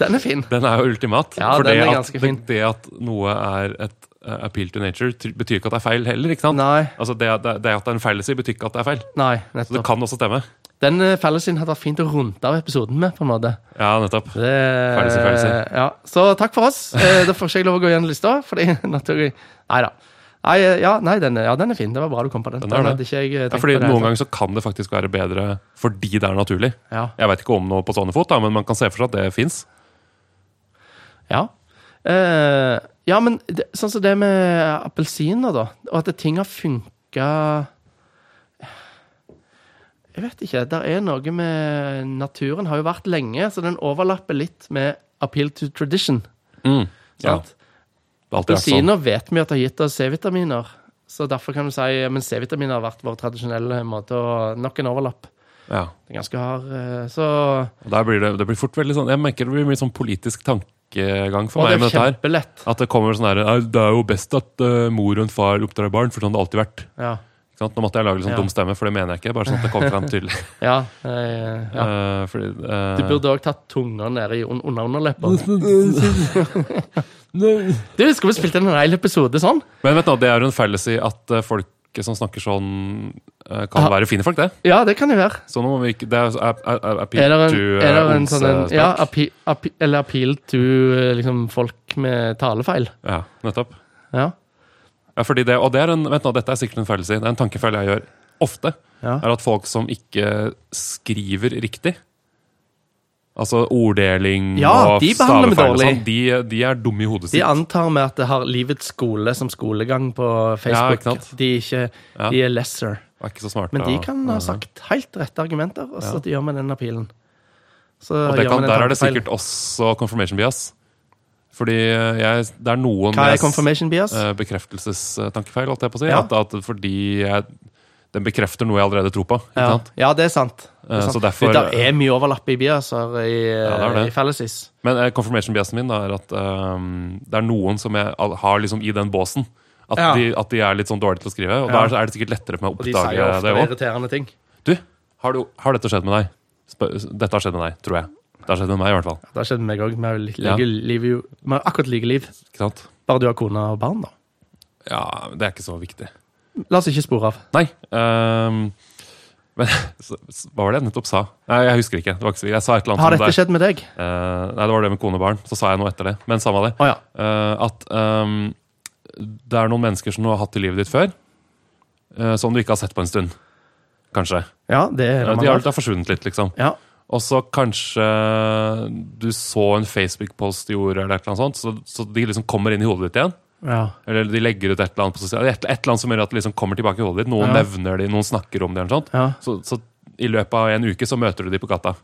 Den er fin.
Den er jo ultimat.
Ja,
for
den
det
er
at,
ganske fin.
Det, det at noe er et eh, appeal to nature, ty- betyr ikke at det er feil heller. ikke sant?
Nei,
Altså det, det, det at det er en fallacy, betyr ikke at det er feil.
nei,
Så det
nettopp.
kan også stemme.
Den eh, fellesen hadde vært fint å runde av episoden med, på en måte.
Ja, nettopp.
Det, eh,
Fellesen, fellesen.
Ja. Så takk for oss. Eh, Da får ikke jeg lov å gå gjennom lista, fordi naturlig Nei da. Nei, eh, ja, nei den, er- ja, den er fin. Det var bra du kom på den.
Den
Den,
er det.
hadde ikke jeg eh,
Ja,
tenkt
fordi
på. det.
Noen ganger så kan det faktisk være bedre fordi det er naturlig.
Ja.
Jeg veit ikke om noe på stående fot, da, men man kan se for seg at det fins.
Ja. Eh, ja, men det, sånn som det med appelsiner, da. Og at ting har funka Jeg vet ikke. Det er noe med Naturen har jo vært lenge, så den overlapper litt med appeal to tradition.
Mm. Ja,
sant?
det har alltid vært sånn.
Appelsiner vet vi at har gitt oss C-vitaminer. Så derfor kan du si men C-vitaminer har vært vår tradisjonelle måte å Nok en overlapp.
Ja.
Det er ganske hard. eh, Så
Og der blir det, det blir fort veldig sånn Jeg merker det blir mye sånn politisk tankegang for
Og
meg
det
med
er
dette her.
kjempelett.
At det kommer sånn her «Nei, Det er jo best at eh, mor og en far oppdrar barn, for sånn har det alltid vært.
Ja.
Ikke sant? Nå måtte jeg lage litt sånn
Ja.
dum stemme, for det mener jeg ikke. bare sånn at det kommer frem tydelig.
Ja, eh, ja.
Eh, fordi, eh,
Du burde òg tatt tunga nede i un- under underleppa. Du, skal vi spille inn en hel episode sånn?
Men vet du, hva, det er jo en fallacy at eh, folk som snakker sånn, eh, kan
Ah.
være fine folk, det.
Ja, det kan jo være.
Så nå må vi ikke Det er, er, er, er appeal
Er det en,
to, eh,
er det en
onds,
sånn en,
eh,
ja,
språk.
appeal, appeal, Eller appeal to eh, liksom, folk med talefeil.
ja, nettopp.
Ja.
Ja, fordi det, og det er en, vent nå, dette er sikkert en fallacy. Det er en tankefeil jeg gjør ofte.
Ja.
Er at folk som ikke skriver riktig Altså orddeling
Ja,
og
de behandler meg
stavefeil og
dårlig.
sånn, De, de er dumme i hodet
De
sitt.
antar med at det har livets skole som skolegang på
Ja,
Facebook.
ikke sant?
de, er ikke,
Ja.
de er lesser.
er ikke så smarte.
Men de
og-
kan altså, ha sagt helt rette argumenter, og så
Ja.
gjør vi den appealen. Så
Og det
gjør
kan,
man en
der er det
tankefeil.
sikkert også confirmation bias. Fordi eh, jeg, det er noen
Hva er
jeg s-
confirmation bias?
eh, bekreftelsestankefeil, holdt jeg på å si.
Ja.
At, at fordi jeg, den bekrefter noe jeg allerede tror på. Ikke
Ja.
sant?
ja, det er sant. Det
Eh,
er, sant.
så derfor-
det der er mye overlapp i biaser i, eh,
det er det.
i fallacies.
Men eh, confirmation biasen min da, er at eh, det er noen som jeg al- har liksom i den båsen. At,
Ja.
de, at de er litt sånn dårlige til å skrive. Og
Ja.
da er det sikkert lettere for meg å
Og de sier
oppdage
ofte
det òg.
Irriterende ting.
Du, har, du, har dette skjedd med deg? Spør, dette har skjedd med deg, tror jeg. Det har skjedd med meg, i hvert fall.
Det har skjedd meg òg. Vi har jo litt
Ja.
like liv jo- vi har akkurat like liv.
Ikke sant?
Bare du har kone og barn, da.
Ja, men det er ikke så viktig.
La oss ikke spore av.
Nei. ehm, men så, så, hva var det jeg nettopp sa? Nei, Jeg husker ikke. Det var ikke så, jeg sa et eller annet
Har
om
dette
det.
skjedd med deg?
Eh, nei, det var det med kone og barn. Så sa jeg noe etter det. Men samme av det.
Å ja.
Eh, at ehm, det er noen mennesker som du har hatt i livet ditt før, eh, som du ikke har sett på en stund. Kanskje.
Ja, det er
Eh,
det
de
man
har,
har.
det har forsvunnet litt, liksom.
Ja.
Og så kanskje du så en Facebook-post de gjorde, eller et eller annet sånt, så, så de liksom kommer inn i hodet ditt igjen.
Ja.
Eller de legger ut et eller annet på sosiale Et, et eller annet som gjør at det liksom kommer tilbake i hodet ditt. Noen
Ja.
nevner de, noen snakker om de, eller noe sånt.
Ja.
Så, så i løpet av en uke så møter du de på gata.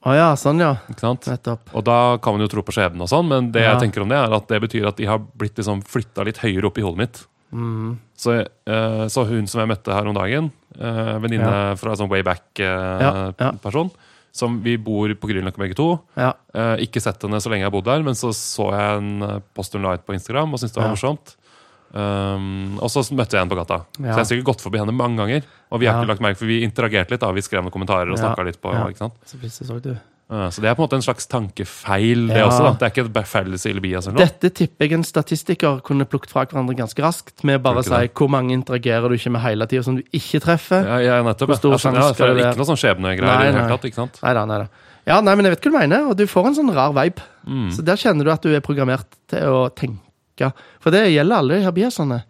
Å ja, sånn ja.
Ikke sant?
Nettopp.
Og da kan man jo tro på skjebnen, og sånn, men det
Ja.
jeg tenker om det er at det betyr at de har blitt liksom flytta litt høyere opp i hodet mitt.
Mm.
Så, jeg- eh, så hun som jeg møtte her om dagen, eh, venninne fra sånn way
Ja, ja.
back-person, som vi bor på Grünerløkka begge to
Ja.
Eh, ikke sett henne så lenge jeg har bodd der, men så så jeg en eh, post hun la ut på Instagram og syntes det var
Ja.
morsomt. Um, og så møtte jeg henne på gata. Så
Ja.
jeg har sikkert gått forbi henne mange ganger. Og vi har
Ja.
ikke lagt merke, for vi interagerte litt, da. Vi skrev noen kommentarer og
Ja.
snakket litt på.
Ja.
Ikke sant?
Så plutselig så du.
Eh, så det er på en måte en slags tankefeil, det
Ja.
også. da. Det er ikke et befellelse eller bias eller noe.
Dette tipper jeg en statistiker kunne plukket fra hverandre ganske raskt. Med bare å
Tror du
si
ikke
hvor mange interagerer du ikke med hele tida som du ikke treffer.
Ja, ja, nettopp.
Hvor stor
ja. Altså,
sjanse
ja, for
skal
det
det
er
være?
ikke noe sånn skjebnegreier
Nei,
i det hele
nei.
tatt. ikke sant?
Neida, neida. Ja, nei, men jeg vet hva du mener, og du får en sånn rar vibe.
Mm.
Så der kjenner du at du er programmert til å tenke. For det gjelder alle de her biasene.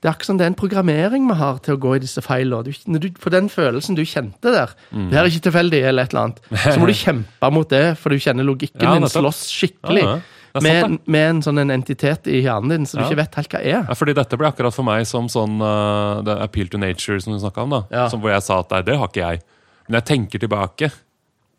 Det er akkurat som det er en programmering vi har til å gå i disse feilene. Du, når du, for den følelsen du kjente der,
Mm.
det er ikke tilfeldig, eller et eller annet, så må du kjempe mot det, for du kjenner logikken
Ja,
din
nettopp.
slåss skikkelig
Ja, ja. Det er sant,
med, med en sånn en entitet i hjernen din som
Ja.
du ikke vet helt hva er.
Ja, fordi dette ble akkurat for meg som sånn eh, det appeal to nature, som du snakka om. da
Ja.
som Hvor jeg sa at nei, det har ikke jeg. Men jeg tenker tilbake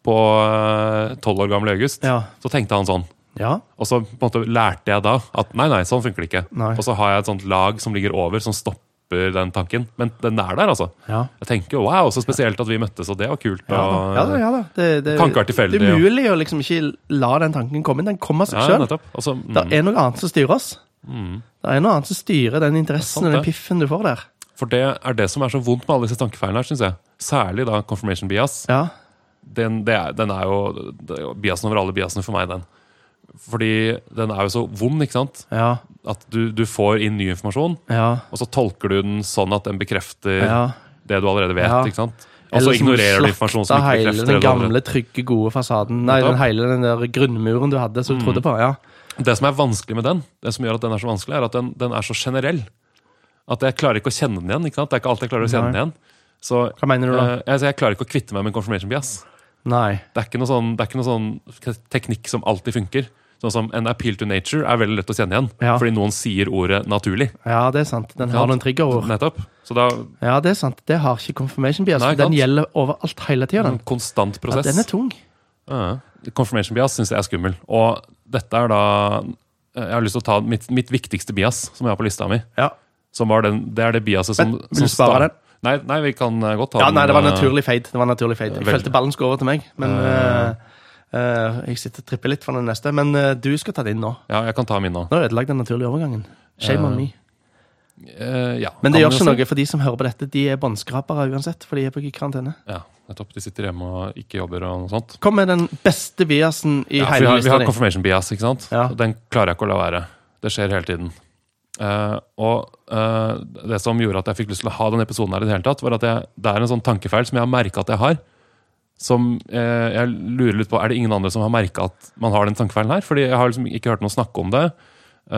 på eh, tolv år gamle August.
Ja.
Så tenkte han sånn.
Ja,
Og så på en måte lærte jeg da at nei, nei, sånn funker det ikke.
Nei.
Og så har jeg et sånt lag som ligger over, som stopper den tanken. Men den er der, altså.
ja.
Jeg tenker jo wow, så spesielt at vi møttes, og det var kult.
Ja da.
og,
Ja, da, ja, da. Det, det,
Tanker er tilfeldig,
Det
ja.
er mulig å liksom ikke la den tanken komme inn. Den kommer av seg
Ja,
sjøl.
nettopp. Og så, mm,
Det er noe annet som styrer oss. Det er noe annet som styrer den interessen
Det er sant,
og den
det.
piffen du får der.
For det er det som er så vondt med alle disse tankefeilene her, syns jeg. Særlig da confirmation bias.
Ja,
den, det er, den er jo det er jo biasen over alle biasene for meg, den. Fordi den er jo så vond, ikke sant?
ja,
At du, du får inn ny informasjon,
ja.
og så tolker du den sånn at den bekrefter
ja.
det du allerede vet.
Ja.
ikke sant? Og så ignorerer du informasjon som ikke
hele
bekrefter det.
den
du allerede-
gamle, trygge, gode fasaden. Nei,
Nettopp. Mm.
den hele den der grunnmuren du hadde som du trodde på. Ja.
Det som er vanskelig med den, det som gjør at den er så vanskelig, er at den, den er så generell. At jeg klarer ikke å kjenne den igjen. ikke sant? Det er ikke alltid jeg klarer å kjenne
Nei.
den igjen. Så
Hva mener du da?
eh, altså, jeg klarer ikke å kvitte meg med confirmation bias.
Nei.
Det er ikke noe sånn, det er ikke noe sånn k- teknikk som alltid funker. Sånn som En appeal to nature er veldig lett å kjenne igjen,
Ja.
fordi noen sier ordet 'naturlig'.
Ja, det er sant. Den har noen triggerord.
Nettopp. Så det er
Ja, det er sant. Det har ikke confirmation bias.
Nei,
Den
sant.
gjelder overalt hele tida,
en
den.
konstant
Ja,
prosess.
den er tung.
Ja. Confirmation bias syns jeg er skummel. Og dette er da Jeg har lyst til å ta mitt, mitt viktigste bias, som jeg har på lista mi.
Ja.
Som var den, det er det biaset som
Men, vil du
som
spare
sta- Nei, nei, vi kan eh, godt ta
Ja, nei, det var en
eh,
naturlig fade. Det var en naturlig fade. Jeg
Vel-
følte ballen skulle over til meg, men
Eh.
eh, eh, Jeg sitter og tripper litt for den neste, men eh, du skal ta det inn nå.
Ja, jeg kan ta min nå.
Nå har jeg ødelagt den naturlige overgangen. Shame on
Eh.
me.
Eh, ja,
Men det
kan man jo
gjør ikke
si.
noe for de som hører på dette. De er båndskrapere uansett, for de er på karantene.
Ja, nettopp. De sitter hjemme og ikke jobber og noe sånt.
Kom med den beste biasen i
Ja, for vi
hele
har, vi
lista
har
di.
confirmation bias, ikke sant?
Ja.
Og Den klarer jeg ikke å la være. Det skjer hele tiden. Eh, og eh, det som gjorde at jeg fikk lyst til å ha denne episoden her i det hele tatt, var at jeg, det er en sånn tankefeil som jeg har merka at jeg har. Som eh, jeg lurer litt på, er det ingen andre som har merka at man har den tankefeilen her? Fordi jeg har liksom ikke hørt noen snakke om det. Eh,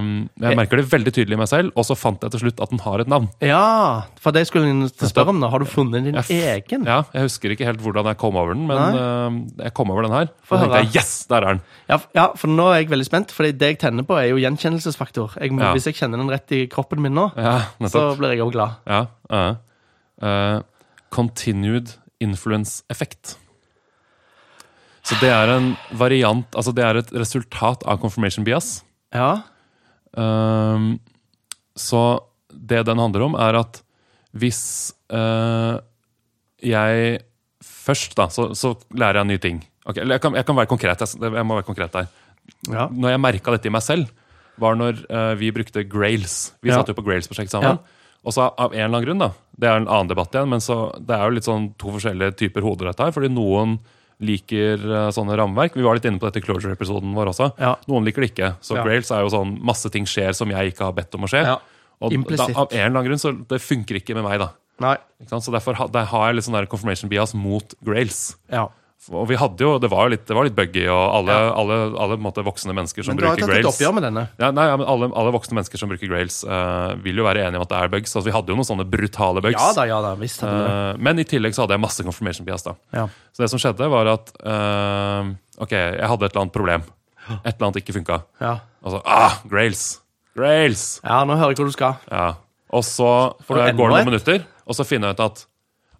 Mm.
jeg merker det veldig tydelig i meg selv, og så fant jeg til slutt at den har et navn.
Ja, for det skulle jeg til å spørre om nå. Har du funnet din
Jeg f-
egen?
Ja, jeg husker ikke helt hvordan jeg kom over den, men eh, jeg kom over den her.
Få
Og da tenkte
høre.
jeg, yes, der er den!
Ja, f- ja, for nå er jeg veldig spent, for det jeg tenner på, er jo gjenkjennelsesfaktor. Jeg må,
Ja.
Hvis jeg kjenner den rett i kroppen min nå,
Ja, nettopp.
så blir jeg òg glad.
Ja, ja. Eh, Continued influence effect. Så det er en variant Altså det er et resultat av confirmation bias.
Ja,
Ehm, så det den handler om, er at hvis eh, jeg Først, da, så, så lærer jeg en ny ting. Ok, eller jeg, kan, jeg kan være konkret. Jeg, jeg må være konkret der
ja.
når jeg merka dette i meg selv, var når eh, vi brukte Grails. Vi
Ja.
satt jo på Grails-prosjekt sammen. Og så av en eller annen grunn, da, det er en annen debatt igjen, men så, det er jo litt sånn to forskjellige typer hoder, dette her. Fordi noen liker eh, sånne rammeverk. Vi var litt inne på dette i Closure-episoden vår også.
Ja.
Noen liker det ikke. Så
Ja.
Grails er jo sånn masse ting skjer som jeg ikke har bedt om å skje.
Ja.
Og da,
Implisitt.
av en eller annen grunn, så det funker ikke med meg, da.
Nei.
Ikke sant? Så derfor ha, der har jeg litt sånn der confirmation bias mot Grails.
Ja.
Og vi hadde jo, Det var jo litt, det var litt buggy, og alle, alle, alle på en måte, voksne mennesker som
Men du har
bruker
jo tatt et
Grails
oppgjør med denne.
ja, nei, ja, men alle, alle voksne mennesker som bruker Grails, eh, vil jo være enige om at det er bugs. Altså, vi hadde jo noen sånne brutale bugs.
Ja da, ja da, visst hadde du det.
Eh, men i tillegg så hadde jeg masse confirmation bias. da.
Ja.
Så det som skjedde, var at eh, Ok, jeg hadde et eller annet problem. Et eller annet ikke funka.
Ja.
Og så Ah, Grails! Grails!
ja, nå hører jeg hvor du skal.
Ja. Og så
Får du
eh,
enda
går det
et?
noen minutter, og så finner jeg ut at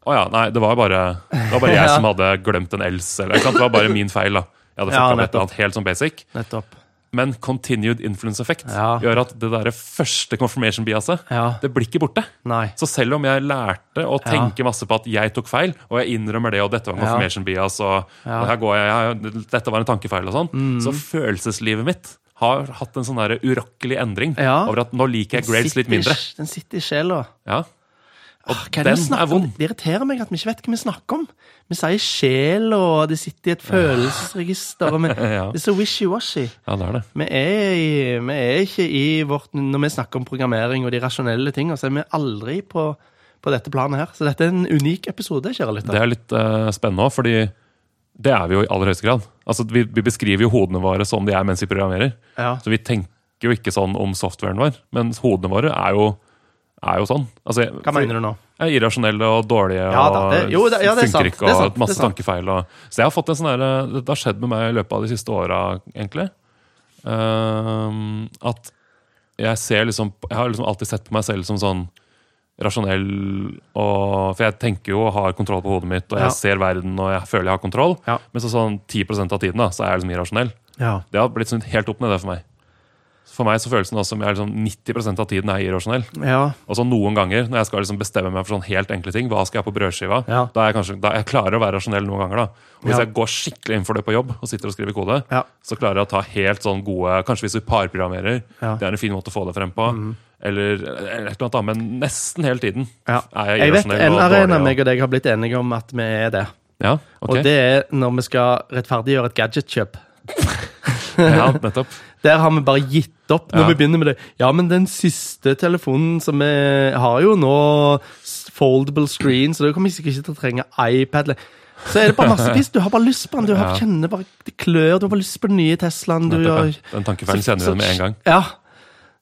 å ja, nei, det var bare, det var bare jeg
Ja.
som hadde glemt en else. Eller, ikke sant? Det var bare min feil. da. Jeg hadde fucka
Ja,
med et
nettopp.
eller annet helt sånn basic.
Nettopp.
Men continued influence effect
Ja.
gjør at det der første confirmation biaset
Ja.
det blir ikke borte.
Nei.
Så selv om jeg lærte å tenke masse på at jeg tok feil, og jeg innrømmer det, og dette var en
Ja.
confirmation bias, og
Ja. Mm.
her går jeg, ja, dette var en tankefeil, og sånn, så følelseslivet mitt har hatt en sånn der urokkelig endring
Ja.
over at nå liker jeg grades litt
Sitter i-
mindre.
Den sitter i sjela.
Ja. Og
Ah, Hva er det
den
vi
er
snakker om?
vond.
Det irriterer meg at vi ikke vet hva vi snakker om. Vi sier sjel, og det sitter i et følelsesregister. Og vi,
Ja.
Det er så wishy-washy.
Ja, det er det.
Vi er, i, vi er ikke i vårt Når vi snakker om programmering og de rasjonelle tingene, så er vi aldri på, på dette planet her. Så dette er en unik episode, kjære
Det
lytter.
er litt eh, spennende òg, fordi det er vi jo i aller høyeste grad. Altså, vi, vi beskriver jo hodene våre som de er mens vi programmerer.
Ja.
Så vi tenker jo ikke sånn om softwaren vår, men hodene våre er jo, er jo sånn. Altså,
Hva mener du nå?
Er irrasjonelle og dårlige og
Ja da, det- jo, det- ja, det er sant,
funker ikke
det er sant,
og masse
det er sant.
tankefeil. Og, så jeg har fått en sånn der, Det har skjedd med meg i løpet av de siste åra, egentlig. Ehm, at jeg ser liksom Jeg har liksom alltid sett på meg selv som sånn rasjonell og For jeg tenker jo og har kontroll på hodet mitt, og
Ja.
jeg ser verden og jeg føler jeg har kontroll.
Ja.
Men så sånn 10 av tiden da, så er jeg liksom irrasjonell.
Ja.
Det har blitt sånn helt opp ned det for meg. For meg så føles det nå som jeg er liksom 90 av tiden er irrasjonell.
ja.
Og så Altså, noen ganger når jeg skal liksom bestemme meg for sånn helt enkle ting, hva skal jeg ha på brødskiva,
Ja.
da er jeg kanskje, da jeg klarer å være rasjonell noen ganger. da. Og hvis
Ja.
jeg går skikkelig inn for det på jobb og sitter og skriver kode,
Ja.
så klarer jeg å ta helt sånn gode Kanskje hvis vi parprogrammerer,
Ja. Mm.
det er en fin måte å få det frem på. Eller, eller et eller annet, annet, men nesten hele tiden
Ja.
er jeg
Jeg vet
irrasjonell
en
og
arena
dårlig.
meg og deg har blitt enige om at vi er det.
Og, ja, ok.
Og det er når vi skal rettferdiggjøre et gadgetkjøp.
ja, nettopp.
Der har vi bare gitt opp når
Ja.
vi begynner med det. Ja, men den siste telefonen som vi har jo nå s- foldable screen, så da kommer vi sikkert ikke til å trenge iPad. eller- Så er det bare massevis. Du har bare lyst på den. Du har,
Ja.
kjenner bare det klør. Du har bare lyst på den nye Teslaen. Du
Nettopp,
har,
ja. Den tankefeilen kjenner vi
så-
igjen med en gang.
Ja.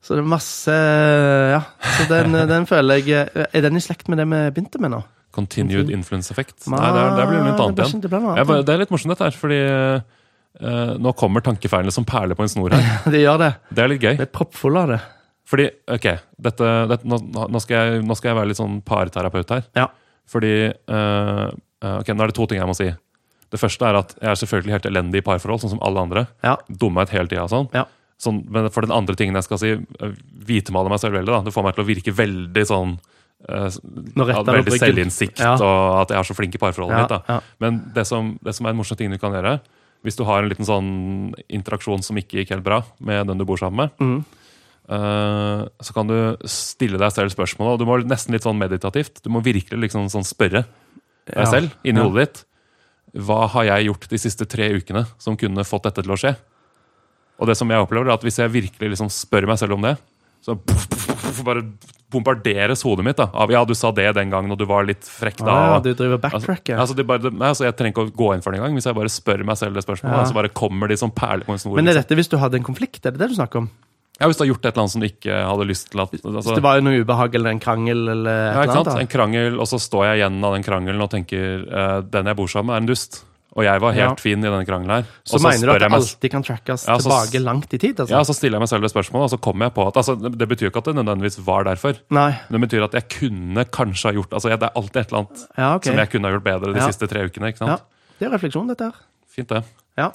Så det er masse Ja. Så den, den føler jeg eh, Er den i slekt med det vi begynte med nå?
Continued influence effect. Nei, det, er, det blir noe
det
annet
blir
igjen.
ikke- det blir noe
Jeg
annet
bare- Det er litt morsomt, dette her, fordi eh, nå kommer tankefeilene som perler på en snor her.
Det gjør det.
Det er litt gøy.
Det er proppfulle av det.
Fordi, ok, dette, dette, nå, nå, skal jeg, nå skal jeg være litt sånn parterapeut her.
Ja.
Fordi eh, eh, Ok, nå er det to ting jeg må si. Det første er at jeg er selvfølgelig helt elendig i parforhold, sånn som alle andre.
Ja.
Dumma ut hele tida og sånn.
Ja.
sånn. Men for den andre tingen jeg skal si, eh, hvitmaler meg selv veldig. da. Det får meg til å virke veldig sånn eh,
Nå retter
ja,
du opp
Veldig
ryggen.
selvinnsikt,
Ja.
og at jeg er så flink i parforholdet
Ja,
mitt. da.
ja.
Men det som, det som er en morsom ting du kan gjøre,
Mm.
hvis du har en liten sånn interaksjon som ikke gikk helt bra med den du bor sammen med, eh, så kan du stille deg selv spørsmålet. Og du må nesten litt sånn meditativt. Du må virkelig liksom sånn spørre deg selv inni
Ja.
hodet ditt. Hva har jeg gjort de siste tre ukene som kunne fått dette til å skje? Og det som jeg opplever er at Hvis jeg virkelig liksom spør meg selv om det, så puff, puff, puff, puff, bare bombarderes hodet mitt da, av ja, du sa det den gangen, og du var litt frekk da.
Ah,
og-
du driver
Altså,
backtrack, ja.
altså det er bare, nei, altså jeg trenger ikke å gå inn for det engang. Hvis jeg bare spør meg selv det spørsmålet,
Ja.
så bare kommer de som perler på en snor.
Men er
liksom.
dette hvis du hadde en konflikt? Er det det du snakker om?
ja, hvis du har gjort et eller annet som du ikke hadde lyst til at
Hvis
altså,
det var jo noe ubehag eller en krangel eller et
ja, ikke
eller
sant?
annet?
En krangel, og så står jeg igjen av den krangelen og tenker eh, den jeg bor sammen med, er en dust. Og jeg var helt
Ja.
fin i denne krangelen her.
da? Så
og
mener du
spør
at det
jeg meg-
alltid kan trackes
Ja, så-
tilbake langt i tid?
ja,
altså?
så stiller jeg meg selv det spørsmålet, og så kommer jeg på at altså, Det betyr ikke at det nødvendigvis var derfor.
Nei.
Det betyr at jeg kunne kanskje ha gjort altså, jeg- Det er alltid et eller annet
Ja, ok.
som jeg kunne ha gjort bedre de
Ja.
siste tre ukene. ikke
Ja.
sant?
Det er refleksjon, dette her.
Fint, det.
Ja.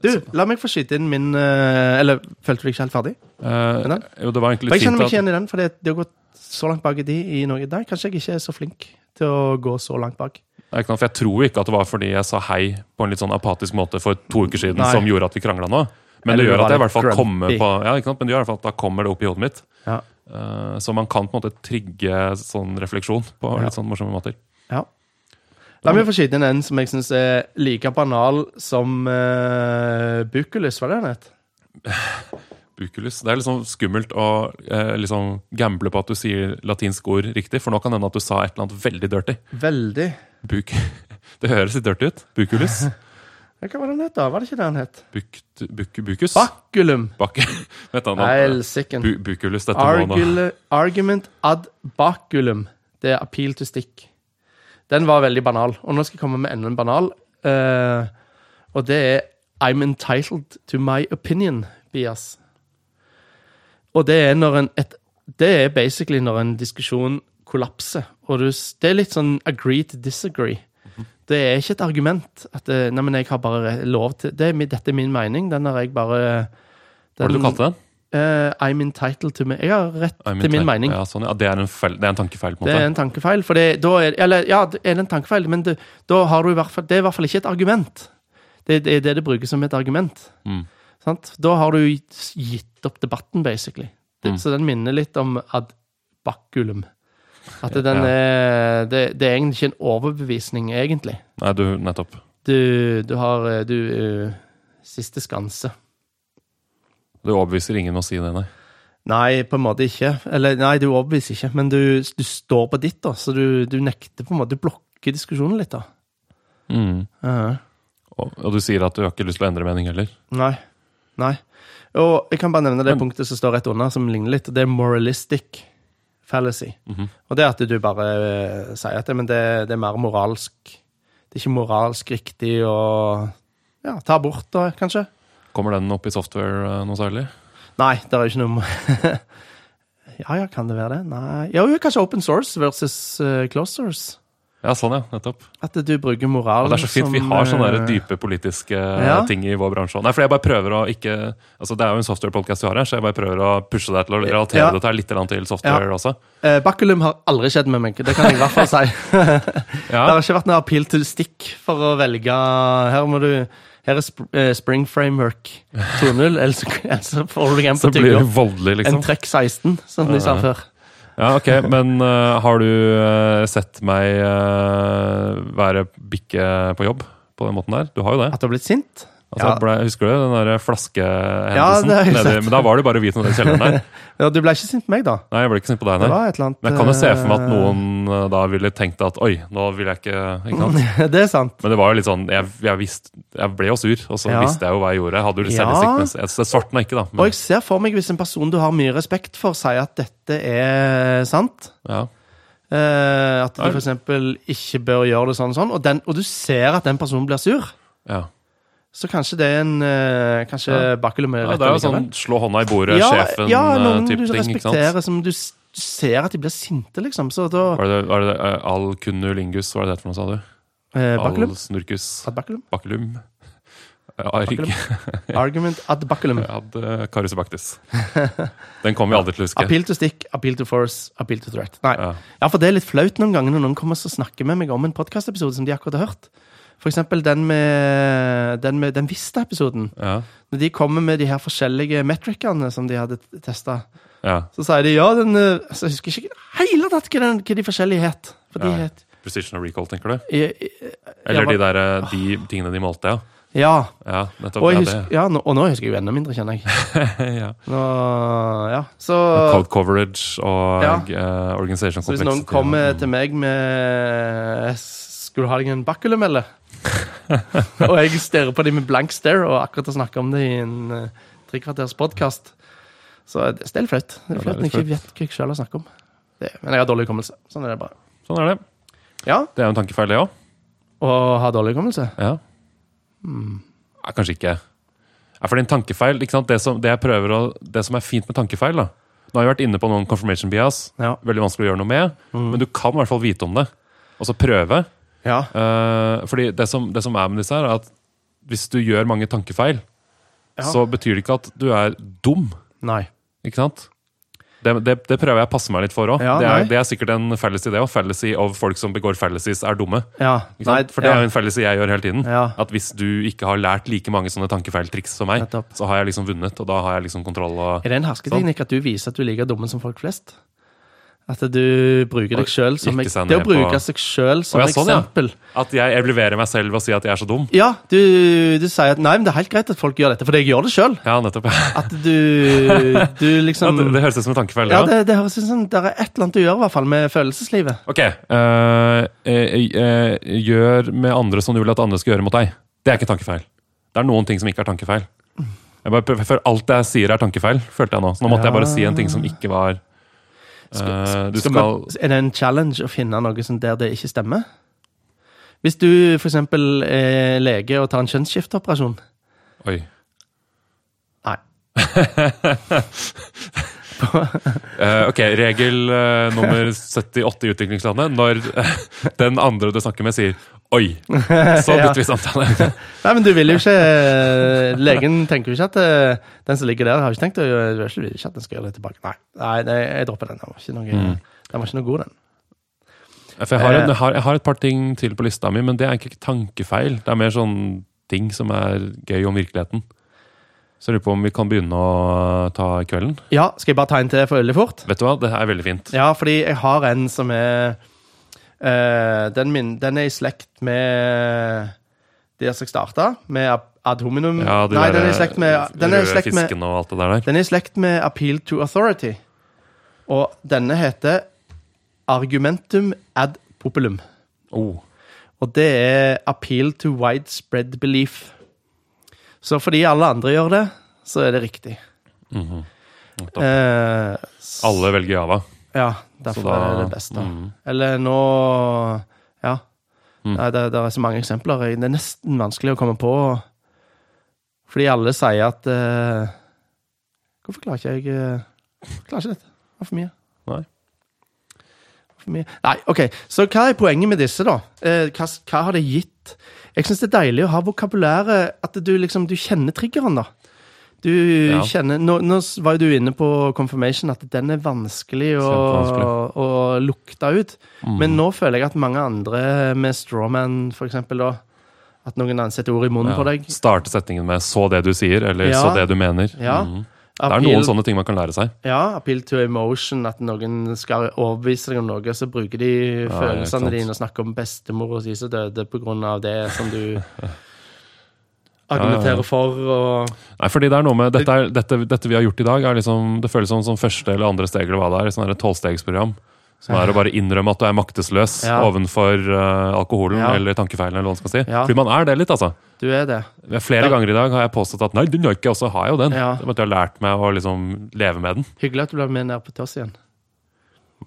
Du, la meg få skyte inn min eh, Eller følte du deg ikke helt ferdig?
Eh,
Men
jo, det var egentlig
For
litt
Jeg
fint
kjenner meg ikke
at
igjen i den, for det, det har gått så langt bak i de i Norge. Der kanskje jeg ikke er så flink til å gå så langt bak.
Det er ikke noe, for Jeg tror ikke at det var fordi jeg sa hei på en litt sånn apatisk måte for to uker siden
Nei.
som gjorde at vi krangla nå. Men det
Eller du
gjør
var
at jeg i
litt
hvert fall
grumpy.
kommer på ja, ikke sant? Men det gjør i hvert fall at da kommer det opp i hodet mitt.
Ja.
Eh, så man kan på en måte trigge sånn refleksjon på
Ja.
litt sånn morsomme måter.
Ja. La meg få skyte inn en som jeg syns er like banal som uh, Bukulus, var det den het?
Bukulus. Det er litt sånn skummelt å eh, liksom gamble på at du sier latinske ord riktig, for nå kan det hende at du sa et eller annet veldig dirty.
Veldig.
Buk det høres litt dirty ut. Bukulus.
Ja, Hva var den het, da? Var det ikke det den het?
Bukt, buk, bukus.
Bakulum.
Bak. Vent da, nå.
Helsiken.
Bu bukulus, dette må nå
Argule- Argument ad baculum. Det er appeal to stick. Den var veldig banal. Og nå skal jeg komme med enda en banal. eh, og det er I'm entitled to my opinion, bias. Og det er når en et, Det er basically når en diskusjon kollapser. Og du, s- det er litt sånn agree to disagree. Det er ikke et argument at eh, Nei, men jeg har bare re- lov til det er, mi- Dette er min mening. Den har jeg bare
Hva var det du kalte den?
Eh, I'm entitled to me. Jeg har rett
I'm
til min
entitled.
mening.
Ja, sånn, ja. Det, er en feil, det er en tankefeil. på en
Det
måte.
er en tankefeil. For det, da er, eller, ja, det er det en tankefeil, men det, da har du i hvert fall, det er i hvert fall ikke et argument. Det, det er det det brukes som et argument.
Mm.
Sant? Da har du gitt opp debatten, basically.
Mm.
Det, Så den minner litt om ad baculum. At det, den
Ja.
er, det, det er egentlig ikke en overbevisning, egentlig.
Nei, du, nettopp.
Du, du har eh, du, eh, siste skanse.
Du overbeviser ingen med å si det, nei.
Nei, på en måte ikke. Eller nei, du overbeviser ikke, men du, du står på ditt, da. Så du, du nekter på en måte. Du blokker diskusjonen litt, da. Ja.
Mm. Og, og du sier at du har ikke lyst til å endre mening heller.
Nei. Nei. Og jeg kan bare nevne det
Men-
punktet som står rett under, som ligner litt. og Det er moralistic fallacy. Og det er at du bare eh, sier at det, men det, det er mer moralsk Det er ikke moralsk riktig å ja, ta abort, da, kanskje.
Kommer den opp i software eh, noe særlig?
Nei, det er jo ikke noe mo- Ja ja, kan det være det? Nei Ja, jo, kanskje open source versus eh, closed source.
Ja, sånn, ja. Nettopp.
At du bruker moral
Og det er så fint. Vi har sånne der
eh,
dype politiske eh,
Ja.
ting i vår bransje. også. Nei, for jeg bare prøver å ikke Altså, Det er jo en software-podkast vi har her, så jeg bare prøver å pushe deg til å relatere
Ja.
dette her litt grann til software også.
eh, Bakulum har aldri skjedd med meg, det kan jeg i hvert fall si. Det
Ja,
har ikke vært noe appeal to stick for å velge Her må du her er sp eh, Spring Framework 2.0, ellers ellers så får du deg en
Så
på
blir
tygga.
du voldelig,
En
liksom.
trekk 16, som de sa
Ja.
før.
Ja, ok, Men eh, har du eh, sett meg eh, være bikke på jobb på den måten der? Du har jo det.
At du har blitt sint?
Altså,
Ja.
ble, husker du den der
Ja,
flaskehendelsen?
det har jeg
nede-
sett.
men da var det bare vi som var i kjelleren der.
Ja, du ble ikke sint på meg, da?
Nei, jeg ble ikke sint på deg,
Det
nei.
var et eller annet
Men jeg kan jo se for meg at
eh,
noen eh, da ville tenkt at oi, nå vil jeg ikke ikke sant?
Det er sant.
Men det var jo litt sånn Jeg, jeg, visste- jeg ble jo sur, og så
Ja.
visste jeg jo hva jeg gjorde. Jeg hadde jo litt
Ja.
selvinnsikt. men Jeg, jeg svarte meg ikke, da.
Og
Men,
jeg ser for meg, hvis en person du har mye respekt for, sier at dette er sant
ja.
eh, At du
Ja.
f.eks. ikke bør gjøre det sånn og sånn, og, den, og du ser at den personen blir sur,
Ja.
så kanskje det er en eh,
Ja.
Kanskje Bakulum er
ja,
rett
det er jo
allikevel.
sånn slå hånda i bordet, sjefen-type
ja, noen du
ting. ikke sant?
respekterer som du s- ser at de blir sinte, liksom. Så da
Var det, var det eh, al kunnulingus, var det det for noe, sa du?
eh, Bakulum.
Al snurkus
Ad bakulum.
bakulum? Eh, Arg.
Bakulum. Argument ad bakulum.
Ad eh, carus bactus. Den kommer vi aldri til å huske.
Appeal to stick, appeal to force, appeal to threat. Nei.
Ja.
Ja, for det er litt flaut noen ganger når noen kommer og snakker med meg om en podkastepisode som de akkurat har hørt. For eksempel den med den, med, den Vista-episoden.
Ja,
Når de kommer med de her forskjellige metricene som de hadde testa,
ja.
så sier de ja, den eh, altså, Jeg husker ikke i det hele tatt hva, den, hva de forskjellige het. For de
Nei.
het
Precision og recall, tenker du?
i- i-
Eller
Ja,
de, der, eh, de tingene de målte, ja.
Ja.
Ja, nettopp.
Og,
ja,
jeg husker, ja, nå, og nå husker jeg jo enda mindre, kjenner jeg.
det. ja.
Nå, ja, så...
Code coverage og
Ja.
eh, organisation
Så hvis noen
complexity.
kommer til meg med Skulle du ha deg en bakulum, eller? og jeg stirrer på dem med blank stare og akkurat å snakke om det i en eh, tre kvarters podkast. Så det det er litt flaut. Det
Ja,
er
det
flaut
er
når jeg
litt
ikke vet hva jeg sjøl har snakket om. Det, men jeg har dårlig hukommelse. Sånn er det bare.
Sånn er det.
Ja,
Det er jo en tankefeil, det òg.
Og ha dårlig hukommelse?
Ja. Nei, kanskje ikke. Nei, fordi en tankefeil, ikke sant? Det, som, det, jeg prøver å, det som er fint med tankefeil da. Nå har jeg vært inne på noen confirmation bias.
Ja.
Veldig vanskelig å gjøre noe med.
Mm.
Men du kan i hvert fall vite om det. Og så prøve.
ja.
Eh, fordi det som, det som er med disse her, er at hvis du gjør mange tankefeil,
Ja.
så betyr det ikke at du er dum.
Nei.
Ikke sant? Det, det, det prøver jeg å passe meg litt for òg.
Ja,
det,
nei.
er- det er sikkert en fallacy, det òg. Fallacy of folk som begår fallacies, er dumme.
Ja.
Ikke sant? For det
ja.
er jo en fallacy jeg gjør hele tiden.
Ja.
At hvis du ikke har lært like mange sånne tankefeiltriks som meg,
Nettopp.
så har jeg liksom vunnet, og da har jeg liksom kontroll og
Er det en hersketeknikk at du viser at du er like dumme som folk flest? At du
Og
bruker deg sjøl som
jekke
ek-
seg
Det å
ned på-
bruke seg sjøl
Å,
som
ja, sånn, ja.
eksempel.
At jeg evaluerer meg selv og sier at jeg er så dum.
Ja, du, du sier at nei, men det er helt greit at folk gjør dette, for jeg gjør det sjøl.
Ja, nettopp.
At du, du
Ja,
liksom
det, det høres ut som en tankefeil.
Ja,
ja.
det, det høres ut som det er et eller annet du gjør, i hvert fall, med følelseslivet.
Ok. eh, eh, eh, gjør med andre som du vil at andre skal gjøre mot deg. Det er ikke tankefeil. Det er noen ting som ikke er tankefeil. Jeg bare, prøver- for alt jeg sier, er tankefeil, følte jeg nå. Så nå måtte jeg bare si en ting som ikke var eh, Du
Skal
skal
man- er det en challenge å finne noe som der det ikke stemmer? Hvis du f.eks. er lege og tar en kjønnsskifteoperasjon
Oi.
Nei.
Eh, ok, regel eh, nummer 78 i utviklingslandet. Når eh, den andre du snakker med, sier 'oi', så
Ja.
bytter vi samtale.
Nei, men du vil jo ikke Legen tenker jo ikke at eh, den som ligger der, har ikke tenkt å gjøre- du vil ikke at den skal gjøre det tilbake. Nei, nei, nei jeg dropper den. Den var ikke noe, den var ikke noe god, den.
For jeg har, en,
Eh.
jeg, har, jeg har et par ting til på lista mi, men det er egentlig ikke tankefeil. Det er mer sånn ting som er gøy om virkeligheten. Så jeg lurer på om vi kan begynne å eh, ta kvelden.
Ja, skal jeg bare ta en til for veldig fort?
Vet du hva, det er veldig fint.
Ja, fordi jeg har en som er eh, den, min, den er i slekt med der som jeg starta, med ab- ad hominum
Ja, de
Mm. Nei,
der, eh,
den er i slekt med, den er i
røde
slekt med,
fisken og alt det der der.
den er i slekt med appeal to authority. Og denne heter argumentum ad populum.
Oh,
Og det er appeal to widespread belief. Så fordi alle andre gjør det, så er det riktig.
mhm. nettopp.
Eh, s-
alle velger Java.
Ja,
Så
derfor
da-
er det det beste.
mm.
Eller nå Ja. Nei, det, det er så mange eksempler. Det er nesten vanskelig å komme på. Fordi alle sier at eh, Hvorfor klarer ikke jeg eh, Klarer ikke dette? Det var for mye.
Nei.
For mye. Nei, OK. Så hva er poenget med disse, da? Eh, hva, hva har det gitt? Jeg syns det er deilig å ha vokabulæret At du liksom du kjenner triggeren, da. Du
Ja.
kjenner nå, nå s- var jo du inne på confirmation, at den er vanskelig å,
Kjempevanskelig. Mm.
å lukte ut. Men nå føler jeg at mange andre med strawman, for eksempel, da At noen andre setter ord i munnen
Ja.
på deg.
Starte setningen med 'så det du sier', eller
Ja.
'så det du mener'.
Ja.
Mm. Det er noen sånne ting man kan lære seg.
Ja, appeal to emotion, at noen skal overbevise deg om noe, så bruker de
ja, ikke
følelsene
sant.
dine og snakker om bestemor og de som døde på grunn av det som du argumenterer for, og
Nei, fordi det er noe med Dette, er, dette, dette vi har gjort i dag, er liksom, det føles som, som første eller andre steg. eller hva det er, sånn her et tolvstegsprogram. Som er å bare innrømme at du er maktesløs
Ja.
ovenfor eh, alkoholen
Ja.
eller tankefeilen. eller hva man skal si.
Ja.
Fordi man er det litt, altså.
du er det.
Flere
Ja.
ganger i dag har jeg påstått at 'nei, den gjør ikke', og så har jeg jo den.
Ja.
Det er bare at jeg har lært meg å liksom leve med den.
Hyggelig at du ble med ned på Tørs igjen.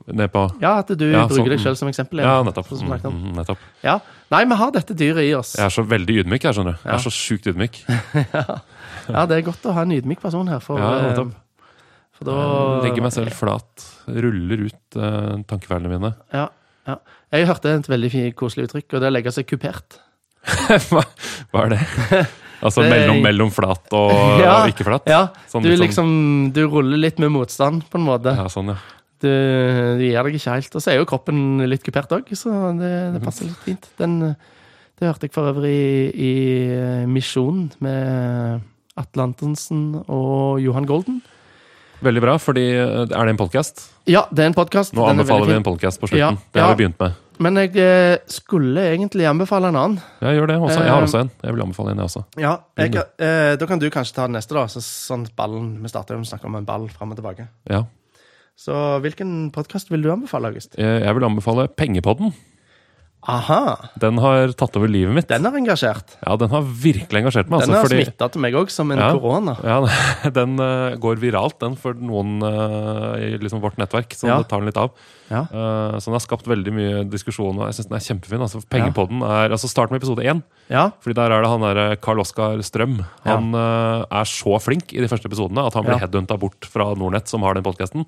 Ned på
Ja, at du
Ja,
bruker
sånn,
deg sjøl som eksempel.
Ja,
igjen,
nettopp.
sånn som
Mm,
snakket om.
mm, nettopp.
Ja. Nei, vi har dette dyret i oss.
Jeg er så veldig ydmyk, jeg, skjønner du. Jeg
Ja.
er så sjukt ydmyk.
Ja, det er godt å ha en ydmyk person her, for,
Ja,
eh,
nettopp.
for da
Eh, Legger meg selv flat. Ruller ut eh, tankefeilene mine.
Ja, ja. Jeg hørte et veldig fin- koselig uttrykk, og det er å legge seg kupert.
Hva, hva er det? Altså
Det er-
mellom, mellom flat og,
Ja,
og ikke flat?
Ja,
Sånn
du
litt sånn-
liksom Du ruller litt med motstand, på en måte.
Ja, sånn, ja.
Du,
Mhm.
du gir deg ikke helt. Og så er jo kroppen litt kupert òg, så det, det passer litt fint. Den, Det hørte jeg for øvrig i, i eh, Misjonen med Atle Antonsen og Johan Golden.
Veldig bra, fordi eh, er det en podkast?
Ja, det er en podkast.
Nå anbefaler vi en podkast på
Ja,
slutten. Det har
ja.
vi begynt med.
Men jeg eh, skulle egentlig anbefale en annen.
Ja, gjør det også. Jeg har
Eh,
også en. Jeg vil anbefale en, jeg også.
Ja, jeg, eh, Da kan du kanskje ta den neste, da. Så, sånn ballen, Vi starter jo med å snakke om en ball fram og tilbake.
Ja.
Så hvilken podkast vil du anbefale, August?
Eh, Jeg vil anbefale Pengepodden.
Aha!
Den har tatt over livet mitt.
Den har engasjert.
Ja, den har virkelig engasjert meg.
Den
Altså,
har
fordi,
smitta til meg òg, som en
Ja.
korona.
ja, den eh, går viralt, den, for noen eh, i liksom vårt nettverk. Så
Ja.
det tar den litt av.
Ja.
Eh, så den har skapt veldig mye diskusjon, og jeg syns den er kjempefin. Altså, Pengepodden er, altså Start med episode én,
Ja.
Fordi der er det han der Karl Oskar Strøm. Han eh, er så flink i de første episodene at han blir
Ja. Mm.
headhunta bort fra Nordnett, som har den podkasten.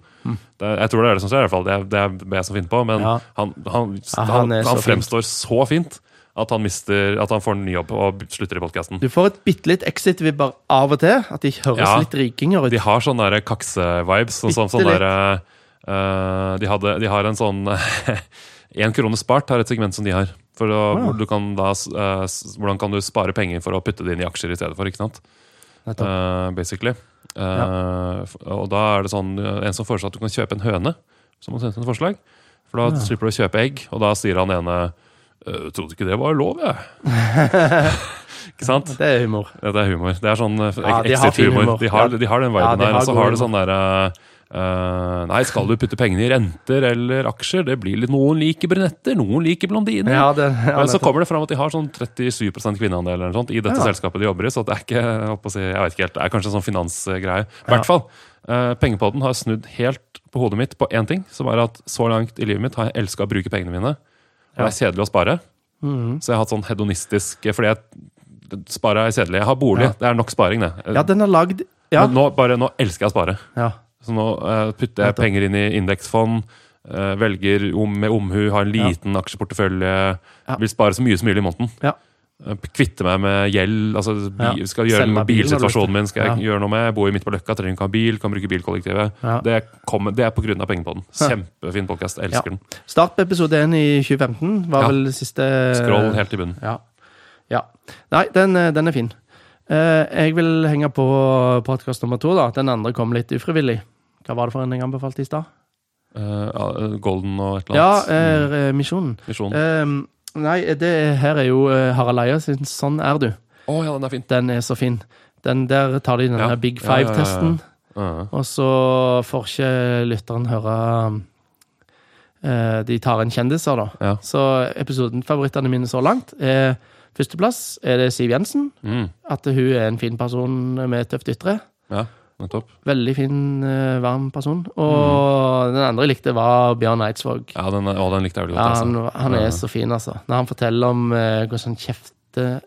Jeg tror det er det som skjer, i hvert fall. Det er, det er jeg som finner på. Men
Ja.
han, han,
Ja,
han,
han
han,
er så flink.
fremstår så fint at han, mister, at han får en ny jobb og slutter i podkasten.
Du får et bitte litt exit-vibber av og til. At de høres
Ja.
litt rikinger ut.
De har sånne der kakse-vibes. Sånn, som
Bitte
sånn der, eh, de, hadde, de har en sånn Én krone spart har et segment som de har. For å,
Å, ja.
hvor du kan da, s- eh, s- hvordan kan du spare penger for å putte det inn i aksjer i stedet for? ikke sant?
Nettopp.
eh, basically. Eh, f- Og da er det sånn, eh, en som foreslår at du kan kjøpe en høne, som han sendte et forslag. For da slipper du å kjøpe egg, og da sier han ene «Eh, trodde ikke det var lov, jeg. ikke sant?
Det er humor.
Ja, det er humor. Det er sånn eh,
Ja, de har fin
exit-humor.
humor.
De, har-
Ja.
de har den
Ja,
viben
de
der.
har
Og så
god
har de sånn derre eh, nei, skal du putte pengene i renter eller aksjer? Det blir litt Noen liker brunetter, noen liker blondiner.
Ja, det, ja,
Men så
nettopp.
kommer det fram at de har sånn 37 kvinneandel eller noe sånt i dette
Ja.
selskapet de jobber i. Så det er ikke, jeg, holdt på å si, jeg vet ikke helt, det er kanskje en sånn finansgreie. I hvert fall. eh, pengepodden har snudd helt på hodet mitt på én ting, som er at så langt i livet mitt har jeg elska å bruke pengene mine. Og det er kjedelig å spare.
Mhm.
Så jeg har hatt sånn hedonistisk Fordi jeg sparer er kjedelig. Jeg har bolig,
Ja.
det er nok sparing, det.
ja, den er lagd ja.
Men nå, bare, nå elsker jeg å spare.
ja.
Så nå eh, putter jeg
Nettopp.
penger inn i indeksfond, eh, velger om, med omhu, har en
Ja.
liten aksjeportefølje,
Ja.
vil spare så mye som mulig i måneden.
Ja.
Eh, Kvitte meg med gjeld. altså bi,
Ja.
skal gjøre
Selge
noe med
bilen, har du lyst til.
Bilsituasjonen min skal jeg gjøre noe med. Jeg bor jo midt på Løkka, trenger ikke ha bil, kan bruke bilkollektivet.
Ja.
Det, kommer, det er på grunn av pengepodden. Kjempefin podkast.
Ja.
Elsker den.
Start på episode 1 i 2015 var
Ja.
vel det siste
Skroll
Eh.
helt i bunnen.
Ja. ja. Nei, den, eh, den er fin. Eh, jeg vil henge på podkast nummer to. da. Den andre kom litt ufrivillig. Hva var det for en jeg anbefalte i stad?
Eh, ja, Golden og et eller
Ja,
annet.
eh, Misjonen.
Mm, Visjon.
Eh, nei, det her er jo eh, Harald Eia sin 'Sånn er du'.
Å ja, den er fin.
Den er så fin. Den Der tar de den
Ja.
der Big
Ja, ja, ja, ja.
Five-testen,
Ja.
og så får ikke lytteren høre eh, De tar inn kjendiser, da.
Ja.
Så episodenfavorittene mine så langt er Førsteplass er det Siv Jensen.
Mm,
At hun er en fin person med tøft ytre.
ja, nettopp.
Veldig fin, eh, varm person. Og den andre jeg likte, var Bjørn Eidsvåg.
Ja, den, er- å, den likte jeg veldig Mm.
Ja,
godt.
han,
altså.
han er
Ja.
så fin, altså. Når han forteller om eh, hvordan han kjefter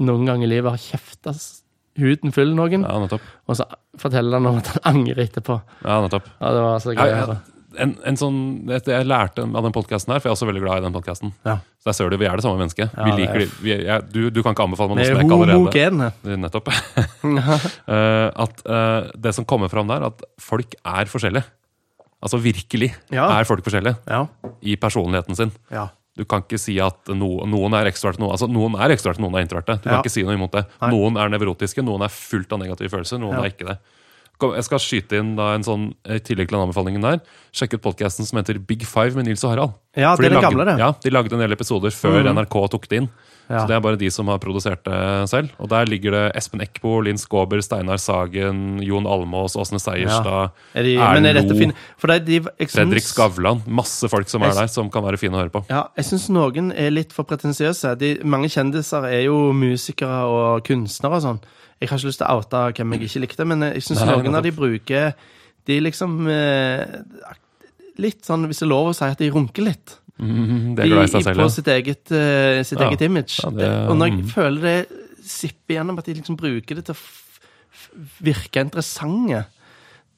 noen ganger i livet, har kjefta s- huden full noen,
Ja, nettopp.
og så forteller han om at han angrer etterpå.
Ja, nettopp.
Ja, det var så
Ja,
gøy altså. å
ja.
høre.
En, en sånn, et- jeg lærte av den podkasten her, for jeg er også veldig glad i den podkasten.
Ja.
Så der ser du, vi er det samme mennesket.
Ja,
vi
det er-
liker, det. vi, jeg, du, du kan ikke anbefale meg noe
Vi
som
er
jeg ikke allerede
homogene.
Nettopp. Eh, at eh, det som kommer fram der, at folk er forskjellige. Altså virkelig
Ja.
er folk forskjellige
Ja.
i personligheten sin.
ja.
Du kan ikke si at no, noen er ekstroverte, noen, altså, noen er ekstroverte, noen er introverte. Du kan
Ja.
ikke si noe imot det.
Nei.
Noen er nevrotiske, noen er fullt av negative følelser, noen
Ja.
er ikke det. Kom, jeg skal skyte inn da en sånn, i tillegg til den anbefalingen der, sjekk ut podcasten som heter Big Five med Nils og Harald.
Ja,
For
det
de
er den
lagde-
gamle, det.
Ja, de lagde en del episoder før
Mhm.
NRK tok det inn.
Ja.
Så det er bare de som har produsert det selv. Og der ligger det Espen Eckbo, Linn Skåber, Steinar Sagen, Jon Almås, Åsne Seierstad,
Er de,
Erlend
men er dette
Lo.
fin? For det, de, jeg syns-
Fredrik Skavlan. Masse folk som er
Jeg-
der, som kan være fine å høre på.
Ja, jeg syns noen er litt for pretensiøse. De, mange kjendiser er jo musikere og kunstnere og sånn. Jeg har ikke lyst til å oute hvem jeg ikke likte, men jeg syns
Nei,
noen av de
nettopp.
bruker De liksom eh, Litt sånn, hvis det er lov å si, at de runker litt.
Mhm, det
De,
er glad i seg
i-
selv.
på
ja.
sitt eget, eh, sitt
Ja.
eget image.
Ja, det-
det, og når jeg
mm.
føler det sipper gjennom, at de liksom bruker det til å f f virke interessante,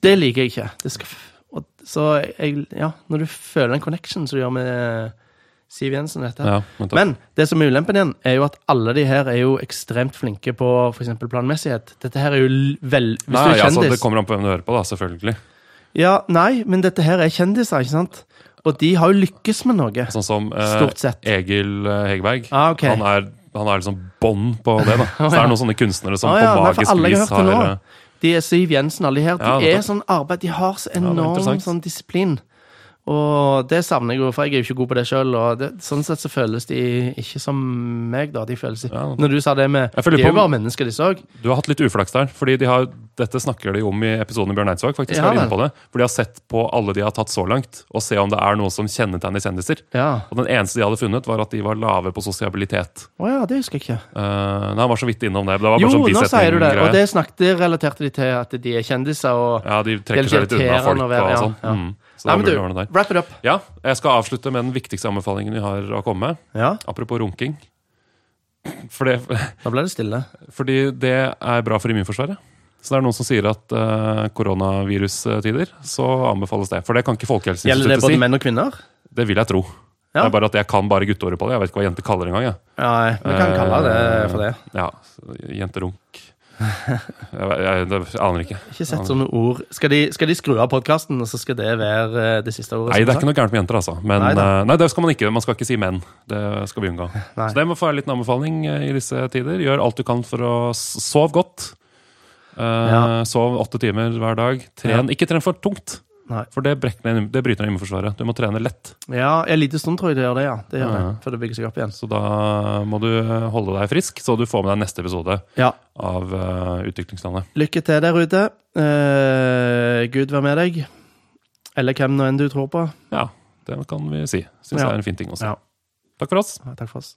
det liker jeg ikke. Det skal f og, så jeg, ja, når du føler en connection som du gjør med Siv Jensen og dette her,
Ja, nettopp.
men det som er ulempen igjen, er jo at alle de her er jo ekstremt flinke på f.eks. planmessighet. Dette her er jo l- vel Hvis
Nei,
du er
altså,
kjendis
det kommer an på hvem du hører på, da, selvfølgelig.
Ja, Nei, men dette her er kjendiser, ikke sant? Og de har jo lykkes med noe.
Sånn som eh,
Stort sett.
Egil eh, Hegberg.
Ah, ok.
Han er han har liksom bånd på det. da Så det er noen sånne kunstnere som
Å ja,
på
nei, for
magisk
alle jeg
vis
hørte
har
nå.
eh,
De er Siv Jensen, alle de her.
Ja,
De
nettopp.
er sånn arbeid, de har så
det er
enorm
interessant.
sånn disiplin. Og det savner jeg jo, for jeg er jo ikke god på det sjøl. Sånn sett så føles de ikke som meg, da. De føles
Ja.
Når du sa det med
Jeg føler
De er
på-
jo bare mennesker, disse òg.
Du har hatt litt uflaks der. fordi de har, Dette snakker de om i episoden i Bjørn Eidsvåg. faktisk,
Ja,
er de inne
vel.
på det. For de har sett på alle de har tatt så langt, og se om det er noe som kjennetegner kjendiser.
Ja.
Og Den eneste de hadde funnet, var at de var lave på sosialitet.
Å ja, det husker jeg ikke.
Eh, nei, Han var så vidt innom det. det var bare
Jo,
sånn
nå sier du det.
bisetning-greie.
Og det snakket det relaterte de til at de er kjendiser og
Ja, de
Det
trekker
er
seg litt unna
irriterende
folk
å være-
og
ja,
sånn.
ja.
Mm. Så
Nei,
det var
men du,
mulig å ordne der.
wrap it up.
Ja, jeg skal avslutte med den viktigste anbefalingen vi har å komme med.
Ja,
Apropos runking. For det,
da ble det stille.
fordi det er bra for immunforsvaret. Så det er noen som sier at eh, koronavirustider, så anbefales det. For det kan ikke
Gjelder det
Folkehelseinstituttet
både
si.
menn og kvinneår?
Det vil jeg tro.
Ja.
Det er bare at jeg kan bare gutteordet på det. Jeg vet ikke hva jenter kaller det engang. jeg.
Nei, vi
Eh,
kan kalle det for det.
Ja, jenterunk. Jeg, jeg, det aner ikke.
Ikke sett sånne ord. Skal de, skal de skru av podkasten, og så skal det være eh, det siste ordet?
Nei, det er ikke noe gærent med jenter, altså. Men,
Nei
nei,
da.
nei, det skal man ikke. Man skal ikke si menn. Det skal vi unngå.
Nei.
Så det må få være en liten anbefaling eh, i disse tider. Gjør alt du kan for å s- sove godt. Eh,
Ja.
Sov åtte timer hver dag. Tren. Ikke tren for tungt,
Nei.
for det, brekker ned, det bryter ned immunforsvaret. Du må trene lett.
Ja, en liten stund tror jeg det gjør det, ja. Det gjør det,
Ja.
Før det bygger seg opp igjen.
Så da må du eh, holde deg frisk, så du får med deg neste episode
Ja,
av eh, Utviklingslandet.
Lykke til der ute. Eh, Gud være med deg. Eller hvem nå enn du tror på.
Ja, det kan vi si. Syns
Ja.
jeg er en fin ting å si.
Ja.
Takk for oss.
Takk for oss.